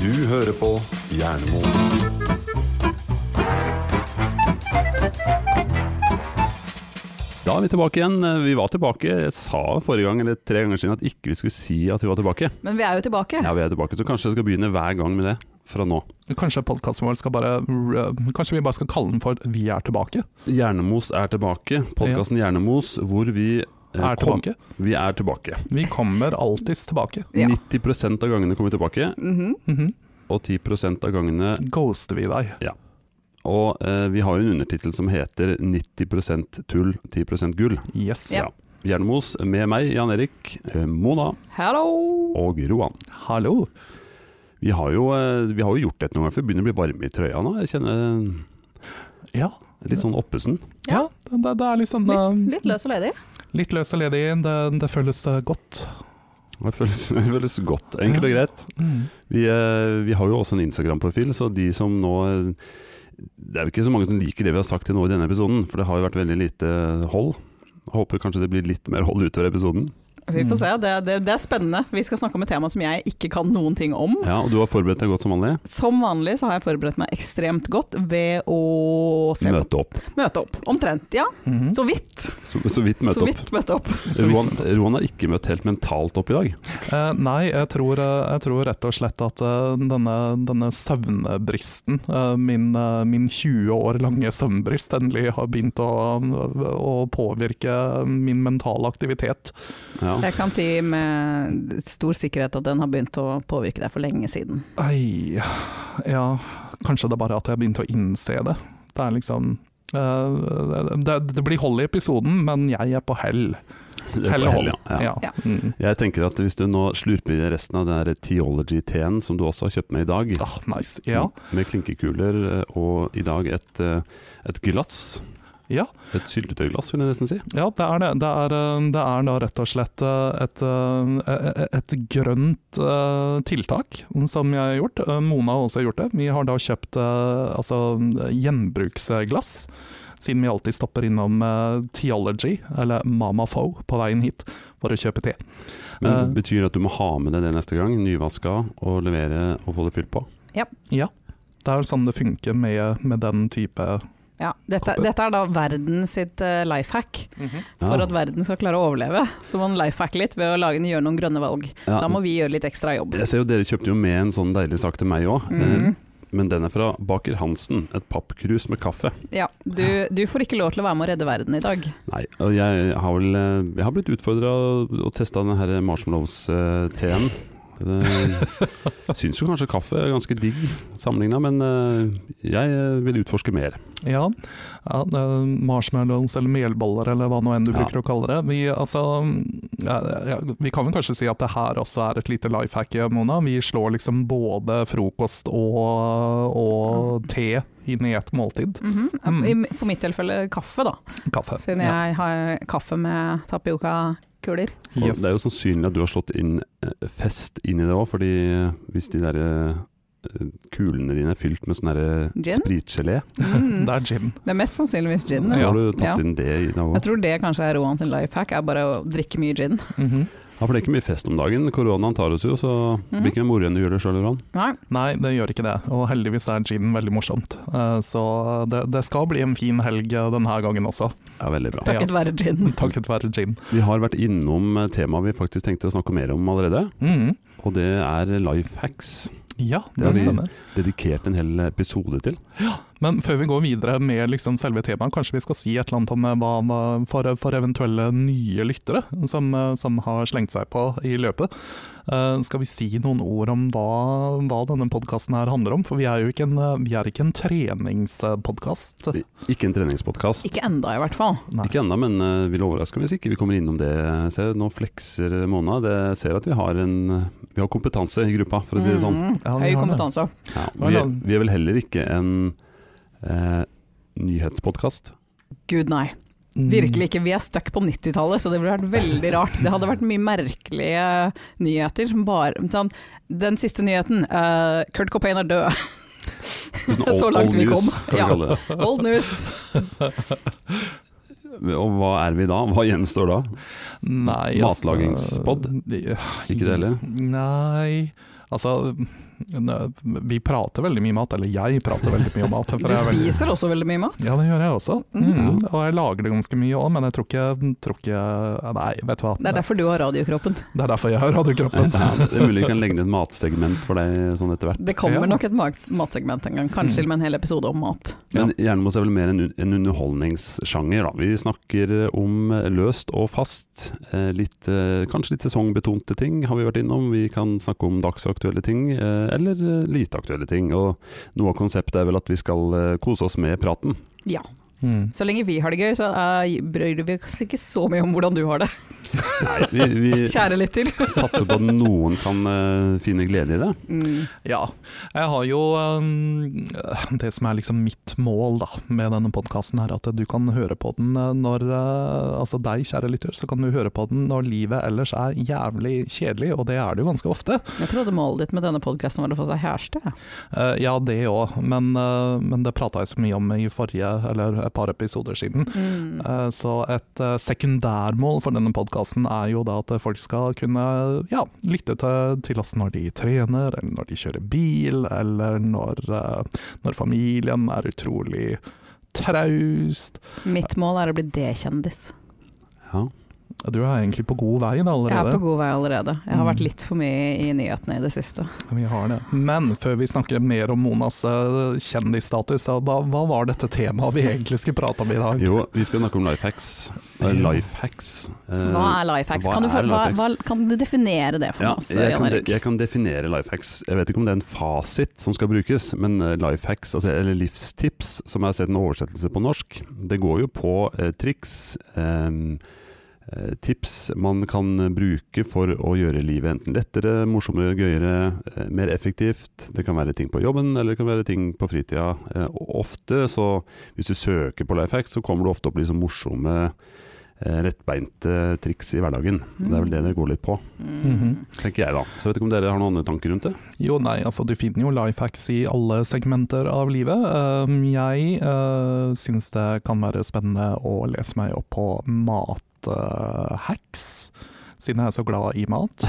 Du hører på Jernmoen. Da er vi tilbake igjen. Vi var tilbake. Jeg sa forrige gang eller tre ganger siden at ikke vi skulle si at vi var tilbake. Men vi er jo tilbake. Ja, vi er tilbake, så kanskje jeg skal begynne hver gang med det fra nå. Kanskje podkasten vår skal bare øh, Kanskje vi bare skal kalle den for 'Vi er tilbake'? Hjernemos er tilbake. Podkasten Hjernemos hvor vi eh, Er kom- tilbake. Vi er tilbake. Vi kommer alltids tilbake. Ja. 90 av gangene kommer vi tilbake, Mhm. Mhm. og 10 av gangene Ghoster vi deg? Og eh, vi har jo en undertittel som heter 90 tull, 10 gull. Yes. Ja. Hjernemos med meg, Jan Erik, eh, Mona Hello! og Roan. Hallo. Vi har jo, eh, vi har jo gjort dette noen ganger, for det begynner å bli varme i trøya nå. Jeg kjenner Ja. litt sånn oppesen. ja. Det, det er liksom Litt, eh, litt løs og ledig. litt løs og ledig. Det, det føles eh, godt. Det føles, det føles godt, enkelt og greit. Mhm. Vi, eh, vi har jo også en Instagram-profil, så de som nå eh, Det er jo ikke så mange som liker det vi har sagt til nå i denne episoden, for det har jo vært veldig lite hold. Håper kanskje det blir litt mer hold utover episoden. Vi Mm. får se, det, det, det er spennende. Vi skal snakke om et tema som jeg ikke kan noen ting om. Ja, og du har forberedt deg godt som vanlig. Som vanlig så har jeg forberedt meg ekstremt godt ved å se på, Møte opp. møte opp. Omtrent, ja. Mhm. Så vidt. Så, så vidt møte Så opp. vidt møte opp. Så vi- Roan, Roan har ikke møtt helt mentalt opp i dag. Eh, nei, jeg tror, eh, jeg tror rett og slett at eh, denne, denne søvnbristen, eh, min, eh, min 20 år lange søvnbrist, endelig har begynt å, øh, å påvirke min mentale aktivitet. Ja. Jeg kan si med stor sikkerhet at den har begynt å påvirke deg for lenge siden. Ei, ja, kanskje det er bare at jeg begynte å innse det. Det er liksom eh, det, det blir hold i episoden, men jeg er på hell. Det er Hell på og hell, hold. ja. Ja. Ja. Ja. Mm. Jeg tenker at hvis du nå slurper i resten av den her Theology-teen som du også har kjøpt med i dag, Ah, nice. Ja. med klinkekuler eh, og i dag et, eh, et glass, ja. et syltetøyglass vil jeg nesten si. Ja, det er det. Det er, eh, det er da rett og slett eh, et, eh, et grønt eh, tiltak som jeg har gjort. Eh, Mona har også gjort det. Vi har da kjøpt eh, altså, gjenbruksglass. Siden vi alltid stopper innom eh, Theology, eller Mama Foe, på veien hit for å kjøpe te. Men Eh. betyr det at du må ha med deg det neste gang, nyvaska, og levere og få det fylt på? Det er jo sånn det funker med, med den type Ja, dette, Kopper. dette er da verden sitt life hack. Ja. For at verden skal klare å overleve, så må den life hacke litt ved å lage, gjøre noen grønne valg. Ja. Da må vi gjøre litt ekstra jobb. Jeg ser jo dere kjøpte jo med en sånn deilig sak til meg òg, Mhm. men den er fra Baker Hansen, et pappkrus med kaffe. Ja, du, du får ikke lov til å være med å redde verden i dag. Nei, og jeg har vel eh, Jeg har blitt utfordra og testa den her marshmallows-teen. Syns jo kanskje kaffe er ganske digg sammenligna, men eh, jeg eh, vil utforske mer. Ja, ja eh, marshmallows eller melboller eller hva nå enn du Ja. bruker å kalle det. Vi, altså, ja, ja, vi kan vel kanskje si at det her også er et lite life hack, Mona. Vi slår liksom både frokost og, Mm. og te inn i ett måltid. Mhm. Mm. I- For mitt tilfelle kaffe, da. Kaffe. Siden Ja. jeg har kaffe med tapioca-kuler. Og Yes. Det er jo sannsynlig at du har slått inn eh, fest inn i det òg, fordi hvis de der eh, kulene dine er fylt med sånn der Gin? spritgelé, Mm. Det er gin. Det er mest sannsynligvis gin. så da. har du Ja. tatt inn det i deg Jeg òg. tror det kanskje er Roan sin life hack, er bare å drikke mye gin. Mhm. Ja, for det er ikke mye fest om dagen. Koronaen tar oss jo, så Mhm. det blir ikke mer moro enn du gjør det sjøl, Roran. Nei. Nei, det gjør ikke det. Og heldigvis er gin veldig morsomt. Eh, Så det, det skal bli en fin helg eh, denne gangen også, Ja, veldig bra. Takket være gin. takket være gin. Vi har vært innom eh, temaet vi faktisk tenkte å snakke mer om allerede. Mhm. Og det er life hacks. Ja, Det er det vi- stemmer. Dedikert en hel episode til. Men før vi går videre med liksom selve temaet, kanskje vi skal si et eller annet om eh, hva, hva- for, for eventuelle nye lyttere som, eh, som har slengt seg på i løpet. Eh, skal vi si noen ord om hva, hva denne podkasten her handler om? For vi er jo ikke en, eh, vi er ikke en treningspodkast. Vi- Ikke en treningspodkast. Ikke, Ikke enda, i hvert fall. Nei. ennå, men eh, vil overraske hvis ikke vi kommer innom det. Se, nå flekser Mona. Det ser at vi har, en, vi har kompetanse i gruppa, for å si det sånn. Mm. Ja, Høy vi har det. kompetanse. Ja, vi, er, vi er vel heller ikke en eh, nyhetspodkast. Gud, nei. Virkelig ikke. Vi er stuck på 90-tallet, så det ville vært veldig rart. Det hadde vært mye merkelige nyheter. Som bare, sånn, den siste nyheten eh, Kurt Copain er død. Sånn Så langt vi news, kom. Kan vi Ja. kalle det. Old news. Og hva er vi da? Hva gjenstår da? Nei, altså- Matlagingspodd? de- Ikke det heller? Nei Altså, ne- vi prater veldig mye mat, eller jeg prater veldig mye om mat. for Du jeg er veldig- spiser også veldig mye mat. Ja, det gjør jeg også. Mm. Mhm. Og jeg lager det ganske mye òg, men jeg tror ikke, tror ikke Nei, vet du hva. Det er derfor du har radiokroppen. Det er derfor jeg har radiokroppen. Ja, det er mulig vi kan legge ned et matsegment for deg sånn etter hvert. Det Ja. kommer nok et mat- matsegment en gang, kanskje til og med en hel episode om mat. Men Jernmos er vel mer en, un- en underholdningssjanger. Da. Vi snakker om eh, løst og fast. eh, Litt, eh, kanskje litt sesongbetonte ting har vi vært innom. Vi kan snakke om dagsaktuelle ting, eh, eller eh, lite aktuelle ting. Og noe av konseptet er vel at vi skal eh, kose oss med praten. Ja. Mm. Så lenge vi har det gøy, så eh, bryr vi oss ikke så mye om hvordan du har det, Nei, vi, vi kjære lytter. satser på at noen kan eh, finne glede i det. Mm. Ja. Jeg har jo eh, Det som er liksom mitt mål da, med denne podkasten, er at du kan høre på den eh, når eh, Altså deg, kjære lytter, så kan du høre på den når livet ellers er jævlig kjedelig, og det er det jo ganske ofte. Jeg trodde målet ditt med denne podkasten var å få seg kjæreste. Eh, ja, det òg, men, eh, men det prata jeg så mye om i forrige, eller et par episoder siden. Mm. Eh, Så et eh, sekundærmål for denne podkasten er jo da at folk skal kunne ja, lytte til, til oss når de trener, eller når de kjører bil, eller når, eh, når familien er utrolig traust. Mitt mål er å bli D-kjendis. Ja. Du er egentlig på god vei da Jeg er allerede. på god vei allerede. Jeg har Mm. vært litt for mye i nyhetene i det siste. Vi har det. Men før vi snakker mer om Monas eh, kjendisstatus, så hva, hva var dette temaet vi egentlig skulle prate om i dag? Jo, vi skal snakke om life hacks. Eh, Life hacks. Eh, Hva er life hacks? hva Kan du, for, er hva, life hva, kan du definere det for Ja, oss? jeg, Jan kan de, Erik? jeg kan definere life hacks. Jeg vet ikke om det er en fasit som skal brukes, men life hacks, altså, eller livstips, som jeg har sett en oversettelse på norsk, det går jo på eh, triks, em, eh, tips man kan bruke for å gjøre livet enten lettere, morsommere, gøyere, eh, mer effektivt. Det kan være ting på jobben, eller det kan være ting på fritida. Eh, og ofte, så hvis du søker på life hacks, så kommer du ofte opp i liksom morsomme, eh, lettbeinte triks i hverdagen. Det er vel det det går litt på Mm. tenker jeg da. Så jeg vet ikke om dere har noen andre tanker rundt det? Jo, nei, altså du finner jo life hacks i alle segmenter av livet. Ehm, Jeg uh, syns det kan være spennende å lese meg opp på mathacks, siden jeg er så glad i mat.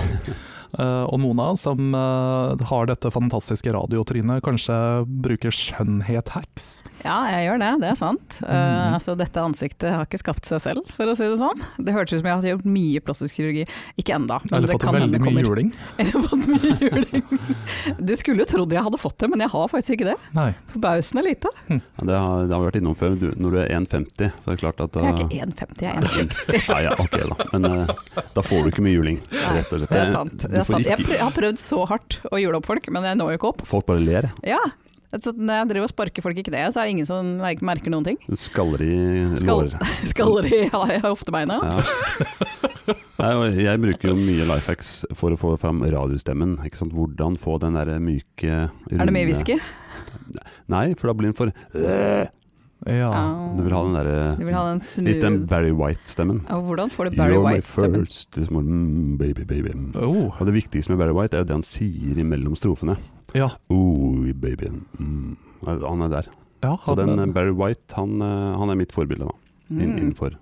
Eh, og Mona, som eh, har dette fantastiske radiotrynet, kanskje bruker skjønnhet-hacks. Ja, jeg gjør det. Det er sant. Eh, Mhm. altså, dette ansiktet har ikke skapt seg selv, for å si det sånn. Det hørtes ut som jeg hadde gjort mye plastisk kirurgi. Ikke enda, men Eller det fått kan hende veldig det mye kommer. juling. Eller fått mye juling. Du skulle jo trodd jeg hadde fått det, men jeg har faktisk ikke det. Nei. Forbausende lite. Ja, det, har, det har vi vært innom før. Du, når du er 1,50, så er det klart at da Jeg er ikke 1,50, jeg er 1,60. ja, ja, ok da. Men eh, da får du ikke mye juling, Nei, rett og slett. Det er sant. Du Det er får sant. Jeg, ikke- prøv, jeg har prøvd så hardt å jule opp folk, men jeg når jo ikke opp. Folk bare ler. Ja, så Når jeg driver og sparker folk i kneet, så er det ingen som like, merker noen ting. Du skaller i Skal- lårer. Skaller i i hoftebeina. Ja. Nei, og jeg bruker jo mye life hacks for å få fram radiostemmen. Ikke sant? Hvordan få den der myke runde Er det mye whisky? Nei, for da blir den for Du Ja. vil ha den derre Du vil ha den smooth Litt den Barry White-stemmen. Ja, Hvordan får du Barry You're my White-stemmen? first this morning, Mm, baby, baby. Oh, Og det viktigste med Barry White er jo det han sier imellom strofene. ja. Oh, baby. Mm. Han er der. ja Så den eh, hadde- Barry White, han, eh, han er mitt forbilde da, inn, Mm. innenfor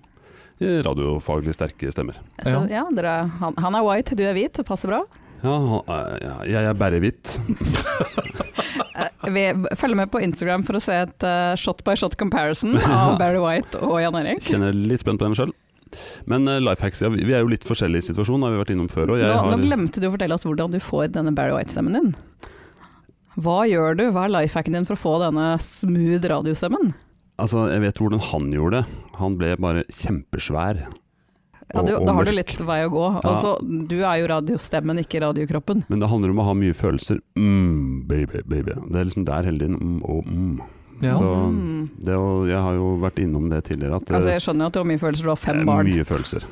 eh, radiofaglig sterke stemmer. Så, ja, dere, han, han er white, du er hvit, det passer bra. Ja, han, eh, ja, jeg er bare hvitt. Eh, Vi følger med på Instagram for å se et eh, shot by shot comparison av Barry White og Jan Erik. Kjenner jeg litt spent på den sjøl. Men uh, life hacks, ja, vi vi er jo litt forskjellige i situasjonen, har vi vært innom før. Og jeg Nå, nå har, glemte du å fortelle oss hvordan du får denne Barry White-stemmen din. Hva gjør du, hva er lifehacken din for å få denne smooth radiostemmen? altså, jeg vet hvordan han gjorde det. Han ble bare kjempesvær. Ja, du, og- og da har du mørk. litt vei å gå. Altså, du er jo radiostemmen, ikke radiokroppen. Men det handler om å ha mye følelser. Mm, baby, baby. Det er liksom der hele tiden. Mm, og mm. ja. Så Mm. det, er jo- jeg har jo vært innom det tidligere. At det, Altså, jeg skjønner jo at du har mye følelser, du har fem det er barn. mye følelser.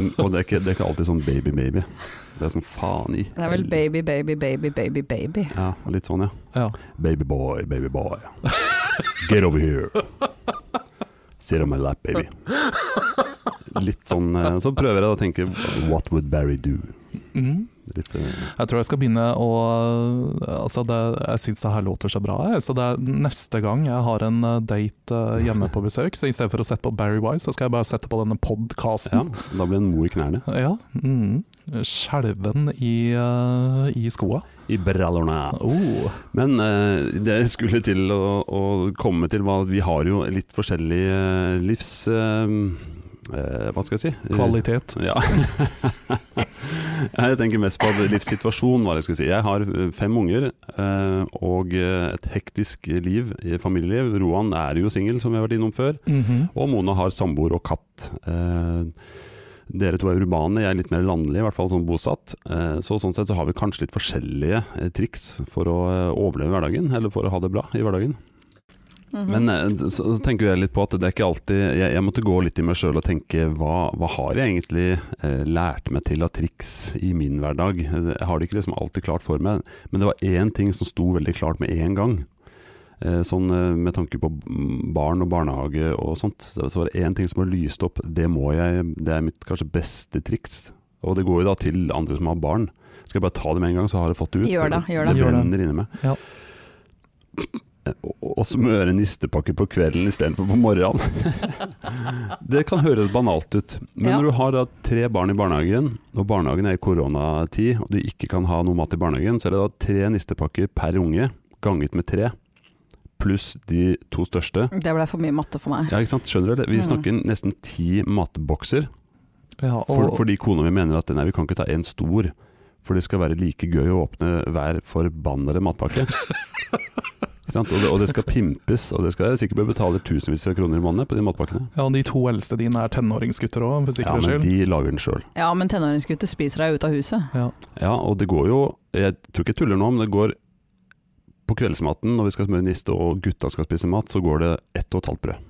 Mm, og det er, ikke, det er ikke alltid sånn baby, baby. Det er sånn faen i. Det er vel baby, baby, baby, baby, baby. Ja, litt sånn, ja. ja. Baby boy, baby boy. Get over here. Sit on my lap, baby. Litt sånn eh, Så prøver jeg da å tenke What would Barry do? Mm. Litt, eh, Jeg tror jeg skal begynne å Altså, det, jeg syns det her låter så bra. Jeg. Så det er neste gang jeg har en eh, date eh, hjemme på besøk, så i stedet for å sette på Barry Wise, så skal jeg bare sette på denne ja, podkasten. da blir en mo i knærne. Ja. mm. Skjelven i, eh, i skoa. I brallorna. Oh. Men eh, det jeg skulle til å, å komme til var at vi har jo litt forskjellig eh, livs... eh, eh, hva skal jeg si? Kvalitet. Ja. jeg tenker mest på at livssituasjon, hva jeg skulle si. Jeg har eh, fem unger eh, og eh, et hektisk liv, i familieliv. Roan er jo singel, som vi har vært innom før. Mhm. Og Mona har samboer og katt. Eh, dere to er urbane, jeg er litt mer landlig, i hvert fall sånn bosatt. Eh, så sånn sett så har vi kanskje litt forskjellige eh, triks for å eh, overleve hverdagen, eller for å ha det bra i hverdagen. Mm. Men eh, så, så tenker jeg litt på at det er ikke alltid Jeg, jeg måtte gå litt i meg sjøl og tenke hva, hva har jeg egentlig eh, lært meg til av triks i min hverdag? Jeg har det ikke liksom alltid klart for meg, men det var én ting som sto veldig klart med en gang. Eh, sånn eh, med tanke på mm, barn og barnehage og sånt, så så var det én ting som har lyst opp. Det må jeg, det er mitt kanskje beste triks. Og det går jo da til andre som har barn. Skal jeg bare ta det med en gang, så har jeg fått det ut. Gjør det, gjør det. Det Gjør det. brenner inni meg. Ja. Og- Og smøre nistepakke på kvelden istedenfor på morgenen. det kan høres banalt ut, men Ja. når du har da tre barn i barnehagen, og barnehagen er i koronatid, og du ikke kan ha noe mat i barnehagen, så er det da tre nistepakker per unge ganget med tre, pluss de to største. Det ble for mye matte for meg. eh, Ja, ikke sant? Skjønner du det? Vi Mm. snakker nesten ti matbokser, Ja, og, for, fordi kona mi mener at nei, vi kan ikke ta en stor, for det skal være like gøy å åpne hver forbannede matpakke. Ikke sant? Og, det, og det skal pimpes, og det skal jeg sikkert bør betale tusenvis av kroner i måneden på de matpakkene. ja, de to eldste dine er tenåringsgutter òg, Ja, for sikkerhets men skyld. de lager den sjøl. Ja, men tenåringsgutter spiser deg ut av huset. Ja. Ja, og det går jo Jeg tror ikke jeg tuller nå, men det går på kveldsmaten når vi skal smøre niste og gutta skal spise mat, så går det ett og et halvt brød.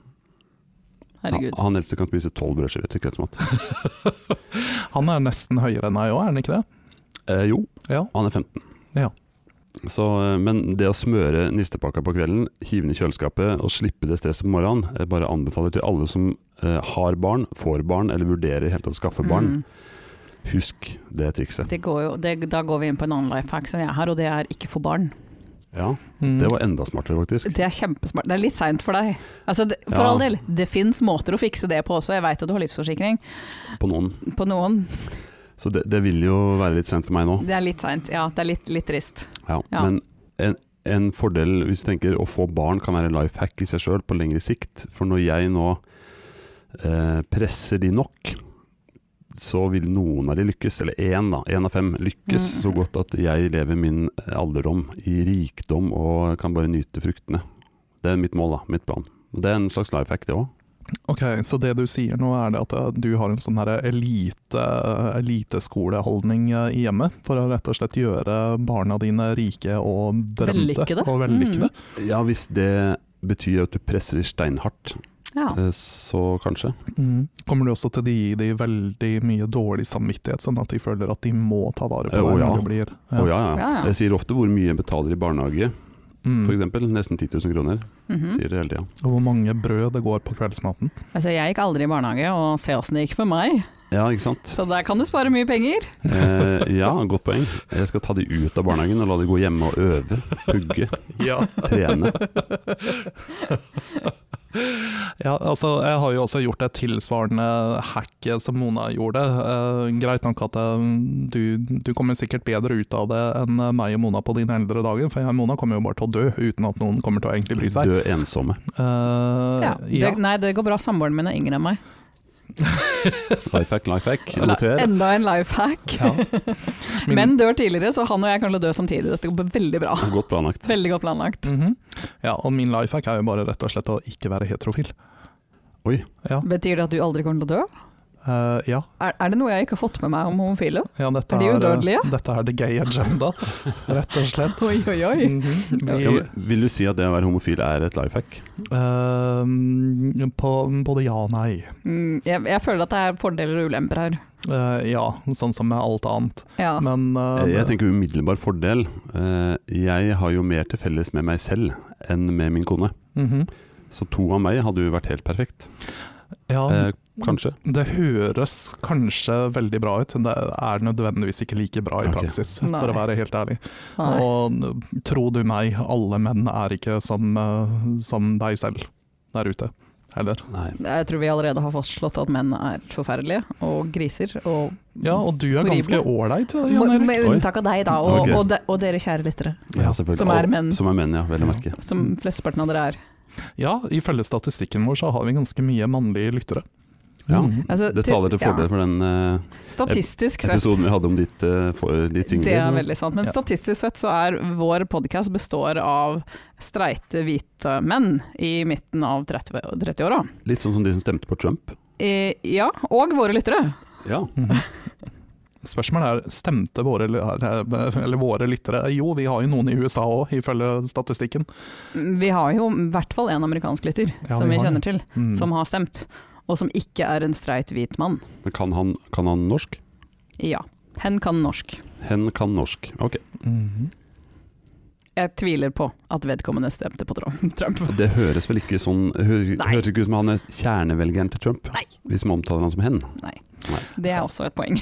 Herregud. Han eldste kan spise tolv brødskiver til kveldsmat. Han er nesten høyere enn meg òg, er han ikke det? Eh, jo, Ja. Han er 15. Ja. Så, eh, men det å smøre nistepakka på kvelden, hive den i kjøleskapet og slippe det stresset på morgenen, jeg bare anbefaler til alle som eh, har barn, får barn eller vurderer i hele tatt å skaffe barn. Mm. Husk det trikset. Det går jo, det, da går vi inn på en annen life hack som jeg har, og det er ikke få barn. Ja, Mm. Det var enda smartere, faktisk. Det er kjempesmart. Det er litt seint for deg. Altså, det, for Ja. all del, det fins måter å fikse det på også. Jeg veit at du har livsforsikring På noen. på noen. Så det, det vil jo være litt sent for meg nå. Det er litt seint. Ja, det er litt, litt trist. Ja, Ja. Men en, en fordel hvis du tenker å få barn kan være en life hack i seg sjøl på lengre sikt. For når jeg nå eh, presser de nok, så vil noen av de lykkes, eller én da, én av fem lykkes Mm. så godt at jeg lever min eh, alderdom i rikdom og kan bare nyte fruktene. Det er mitt mål, da. Mitt plan. Og Det er en slags life hack, det òg. Ok, så det du sier nå er det at eh, du har en sånn her elite, eliteskoleholdning eh, i hjemmet, for å rett og slett gjøre barna dine rike og drømte Vellykkede. og vellykkede. Ja, hvis det betyr at du presser de steinhardt, Ja. eh, så kanskje. Mm. Kommer du også til å gi dem veldig mye dårlig samvittighet, sånn at de føler at de må ta vare på Eh, å deg ja. når du blir Å ja, ja. Ja, ja. Jeg sier ofte hvor mye jeg betaler i barnehage, Mm. f.eks. Nesten 10 000 kroner. Mhm. sier det hele tida. Og hvor mange brød det går på kveldsmaten. Altså, jeg gikk aldri i barnehage, og se åssen det gikk med meg. Ja, ikke sant. Så der kan du spare mye penger. Eh, ja, godt poeng. Jeg skal ta de ut av barnehagen og la de gå hjemme og øve, pugge, Ja. trene. Ja, altså, jeg har jo også gjort et tilsvarende hack som Mona gjorde. Eh, greit nok at eh, du, du kommer sikkert bedre ut av det enn eh, meg og Mona på dine eldre dager, for jeg og Mona kommer jo bare til å dø uten at noen kommer til å egentlig bry seg. Dø ensomme. Eh, ja. Det, nei, det går bra. Samboeren min er yngre enn meg. Life hack, life hack. Noter. Enda en life hack. Ja. Min- Menn dør tidligere, så han og jeg kommer til å dø samtidig. Dette går veldig bra. Godt planlagt. Veldig godt planlagt. Mhm. ja, og min life hack er jo bare rett og slett å ikke være heterofil. Oi. Ja, Betyr det at du aldri kommer til å dø? eh, ja. Er, er det noe jeg ikke har fått med meg om homofile? ja dette, Er de eh, udødelige? dette er the gay agenda, rett og slett. Oi, oi, oi. Mhm. Vi- Ja, men vil du si at det å være homofil er et life hack? eh, på, både ja og nei. Mm, jeg, jeg føler at det er fordeler og ulemper her. Eh, ja, sånn som med alt annet. Ja. Men eh, Jeg tenker umiddelbar fordel. Eh, Jeg har jo mer til felles med meg selv enn med min kone. mhm. Så to av meg hadde jo vært helt perfekt. ja, Eh, Kanskje. Det høres kanskje veldig bra ut, men det er nødvendigvis ikke like bra i Ok. praksis, Nei. for å være helt ærlig. Nei. Og tro du meg, alle menn er ikke som, eh, som deg selv der ute, heller. Nei. Jeg tror vi allerede har fastslått at menn er forferdelige, og griser. Og, Ja, og du er ganske Horrible. ålreit, Jan med, Erik. med Oi. unntak av deg, da, og, Ok. og, de, og dere kjære lyttere. Ja, selvfølgelig. Som er menn. Som er menn, ja. Vel å merke. Som flesteparten av dere er. Ja, ifølge statistikken vår så har vi ganske mye mannlige lyttere. Ja. Mm. Altså, Det taler til ja, fordel for den eh, Statistisk sett. episoden vi hadde om ditt, eh, for, ditt Det er singelliv. veldig sant. Men Ja. statistisk sett så er vår podkast består av streite, hvite menn i midten av 30 og 30-åra. Litt sånn som de som stemte på Trump. Eh, ja, og våre lyttere. Ja. Mhm. Spørsmålet er, stemte våre, eller våre lyttere? Jo, vi har jo noen i USA òg, ifølge statistikken. Vi har jo i hvert fall en amerikansk lytter Ja, som vi vi har kjenner det. til, Mm. som har stemt. Og som ikke er en streit hvit mann. Men kan han, kan han norsk? Ja. Hen kan norsk. Hen kan norsk. Ok. Mhm. Jeg tviler på at vedkommende stemte på Tro- Trump. Det høres vel ikke sånn hø- Nei. Høres ikke ut som han er kjernevelgeren til Trump, Nei. hvis man omtaler han som hen. Det er også et poeng.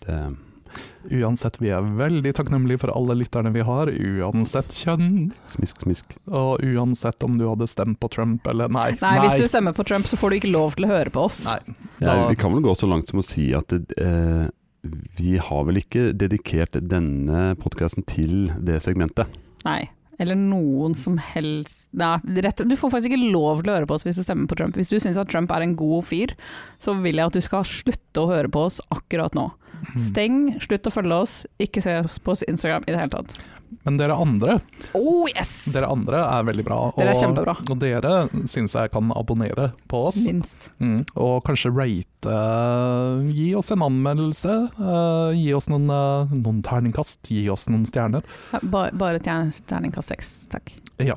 Det, Uansett, vi er veldig takknemlige for alle lytterne vi har, uansett kjønn, smisk, smisk. og uansett om du hadde stemt på Trump eller Nei. Nei, hvis du stemmer på Trump, så får du ikke lov til å høre på oss. Nei. Ja, Da- vi kan vel gå så langt som å si at eh, vi har vel ikke dedikert denne podkasten til det segmentet. Nei. Eller noen som helst Nei, rett, du får faktisk ikke lov til å høre på oss hvis du stemmer på Trump. Hvis du syns at Trump er en god fyr, så vil jeg at du skal slutte å høre på oss akkurat nå. Steng, slutt å følge oss, ikke se oss på Instagram i det hele tatt. Men dere andre, Oh yes! dere andre er veldig bra. Og, Dere er kjempebra. Og dere syns jeg kan abonnere på oss. Minst. Mm, og kanskje rate eh, Gi oss en anmeldelse. eh, gi oss noen, eh, noen terningkast. Gi oss noen stjerner. Bare, bare tjern- terningkast seks, takk. Ja.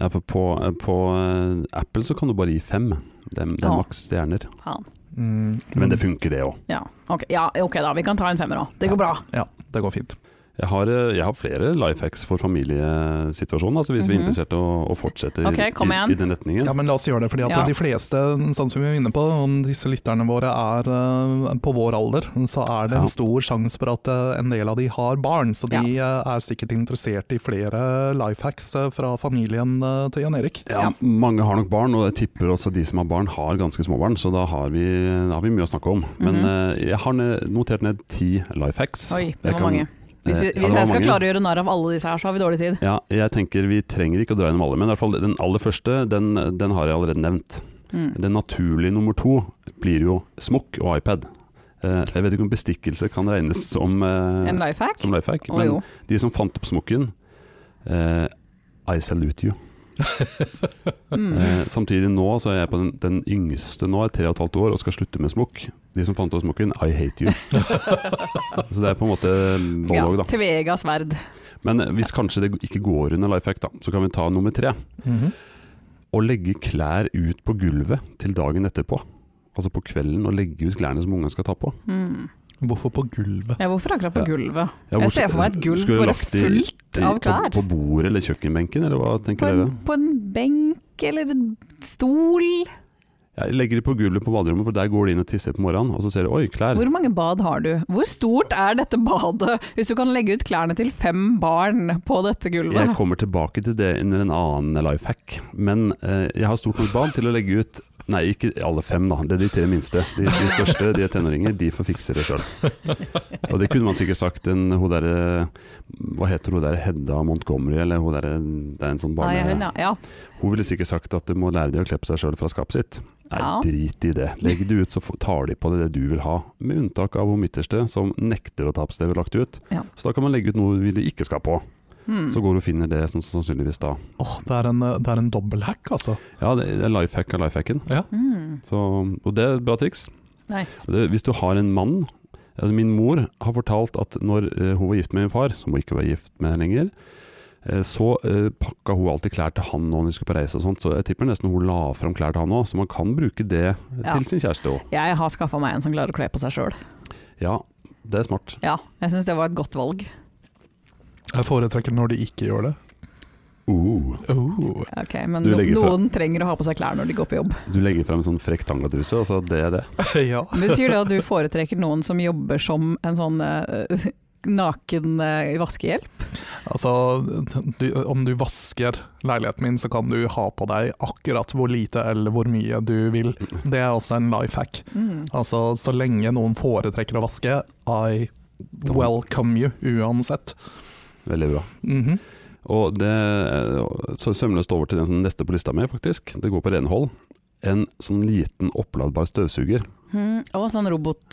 Ja, for på, på eh, Apple så kan du bare gi fem. Det, det er Ja. maks stjerner. Faen. Mm, Men det funker, det òg. Ja. Ok, ja, ok da, vi kan ta en femmer òg. Det går bra. Ja, det går fint. Jeg har, eh, jeg har flere life hacks for familiesituasjonen, altså hvis vi er Mhm. interessert i å, å fortsette i- Ok, kom igjen. i, i den retningen. Ja, men la oss gjøre det, fordi at Ja. de fleste, sånn som vi var inne på, om disse lytterne våre er eh, på vår alder, så er det Ja. en stor sjanse for at eh, en del av de har barn. Så de eh, er sikkert interessert i flere life hacks eh, fra familien eh, til Jan Erik. Ja, Ja. Mange har nok barn, og jeg tipper også de som har barn har ganske små barn, så da har vi, da har vi mye å snakke om. Men eh, jeg har ne- notert ned ti life hacks. Mhm. Oi, det Jeg var kan- mange. Hvis, vi, eh, ja, det hvis var jeg skal mange. klare å gjøre narr av alle disse her, så har vi dårlig tid. Ja, jeg tenker vi trenger ikke å dra gjennom alle, men i hvert fall den aller første, den, den har jeg allerede nevnt. Mm. Den naturlige nummer to blir jo smokk og iPad. Eh, jeg vet ikke om bestikkelse kan regnes som, eh, En life hack? som life hack, Å men jo. de som fant opp smokken eh, I salute you. Mm. Eh, samtidig nå så er jeg på den, den yngste nå, er tre og et halvt år og skal slutte med smokk. De som fant opp smokken, I hate you. så det er på en måte bålog, Ja, da. til Vegas verd. Men eh, hvis kanskje det ikke går under life hack, da, så kan vi ta nummer tre. Mhm. Å legge klær ut på gulvet til dagen etterpå. Altså på kvelden, å legge ut klærne som ungene skal ta på. Mm. Hvorfor på gulvet? Ja, hvorfor akkurat på Ja. gulvet? Ja, hvor- Jeg ser for meg et gulv skulle bare lagt de- fullt de av klær. På, på bordet eller kjøkkenbenken, eller hva På tenker en, dere? på en benk eller en stol? Jeg legger de på gulvet på baderommet, for der går de inn og tisser på morgenen, og så ser de oi, klær. Hvor mange bad har du? Hvor stort er dette badet? Hvis du kan legge ut klærne til fem barn på dette Jeg gulvet? kommer tilbake til det under en annen life hack. Men eh, jeg har stort nok barn til å legge ut Nei, ikke alle fem, da. Det er de tre minste. De, de største, de er tenåringer, de får fikse det sjøl. Og det kunne man sikkert sagt en hun derre Hva heter hun derre Hedda Montgomery, eller hun derre Det er en sånn Nei, hun, barne... Ah, ja. Ja. Hun ville sikkert sagt at du må lære deg å kle på seg sjøl fra skapet sitt. Nei, Ja. drit i det. Legg det ut, så får- tar de på det, det du vil ha. Med unntak av hun midterste, som nekter å ta på stedet lagt ut. Ja. Så da kan man legge ut noe du ikke skal på. Mm. Så går du og finner det som sannsynligvis da. Åh, det er en, eh, det er en dobbelthack, altså. Ja, det er life hack av life hacken. Mm. Så, og det er et bra triks. Nice. Det, hvis du har en mann altså Min mor har fortalt at når eh, hun var gift med min far, som hun ikke var gift med lenger, eh, så eh, pakka hun alltid klær til han når de skulle på reise og sånt, så jeg tipper nesten hun la fram klær til han òg, så man kan bruke det Ja. til sin kjæreste òg. Jeg har skaffa meg en som klarer å kle på seg sjøl. Ja, det er smart. Ja, jeg syns det var et godt valg. Jeg foretrekker når de ikke gjør det. Uh, Oh. Ok, men Du no, legger fra- noen trenger å ha på seg klær når de går på jobb. du legger frem en sånn frekk tangatruse, og så det er det. ja. Betyr det at du foretrekker noen som jobber som en sånn eh, naken eh, vaskehjelp? Altså, du, om du vasker leiligheten min, så kan du ha på deg akkurat hvor lite eller hvor mye du vil. Det er også en life hack. Mm. Altså, så lenge noen foretrekker å vaske, I welcome you uansett. Veldig bra. Mhm. Og det eh, så sømløst over til den som neste på lista mi, faktisk. Det går på renhold. En sånn liten oppladbar støvsuger. Mm. Og sånn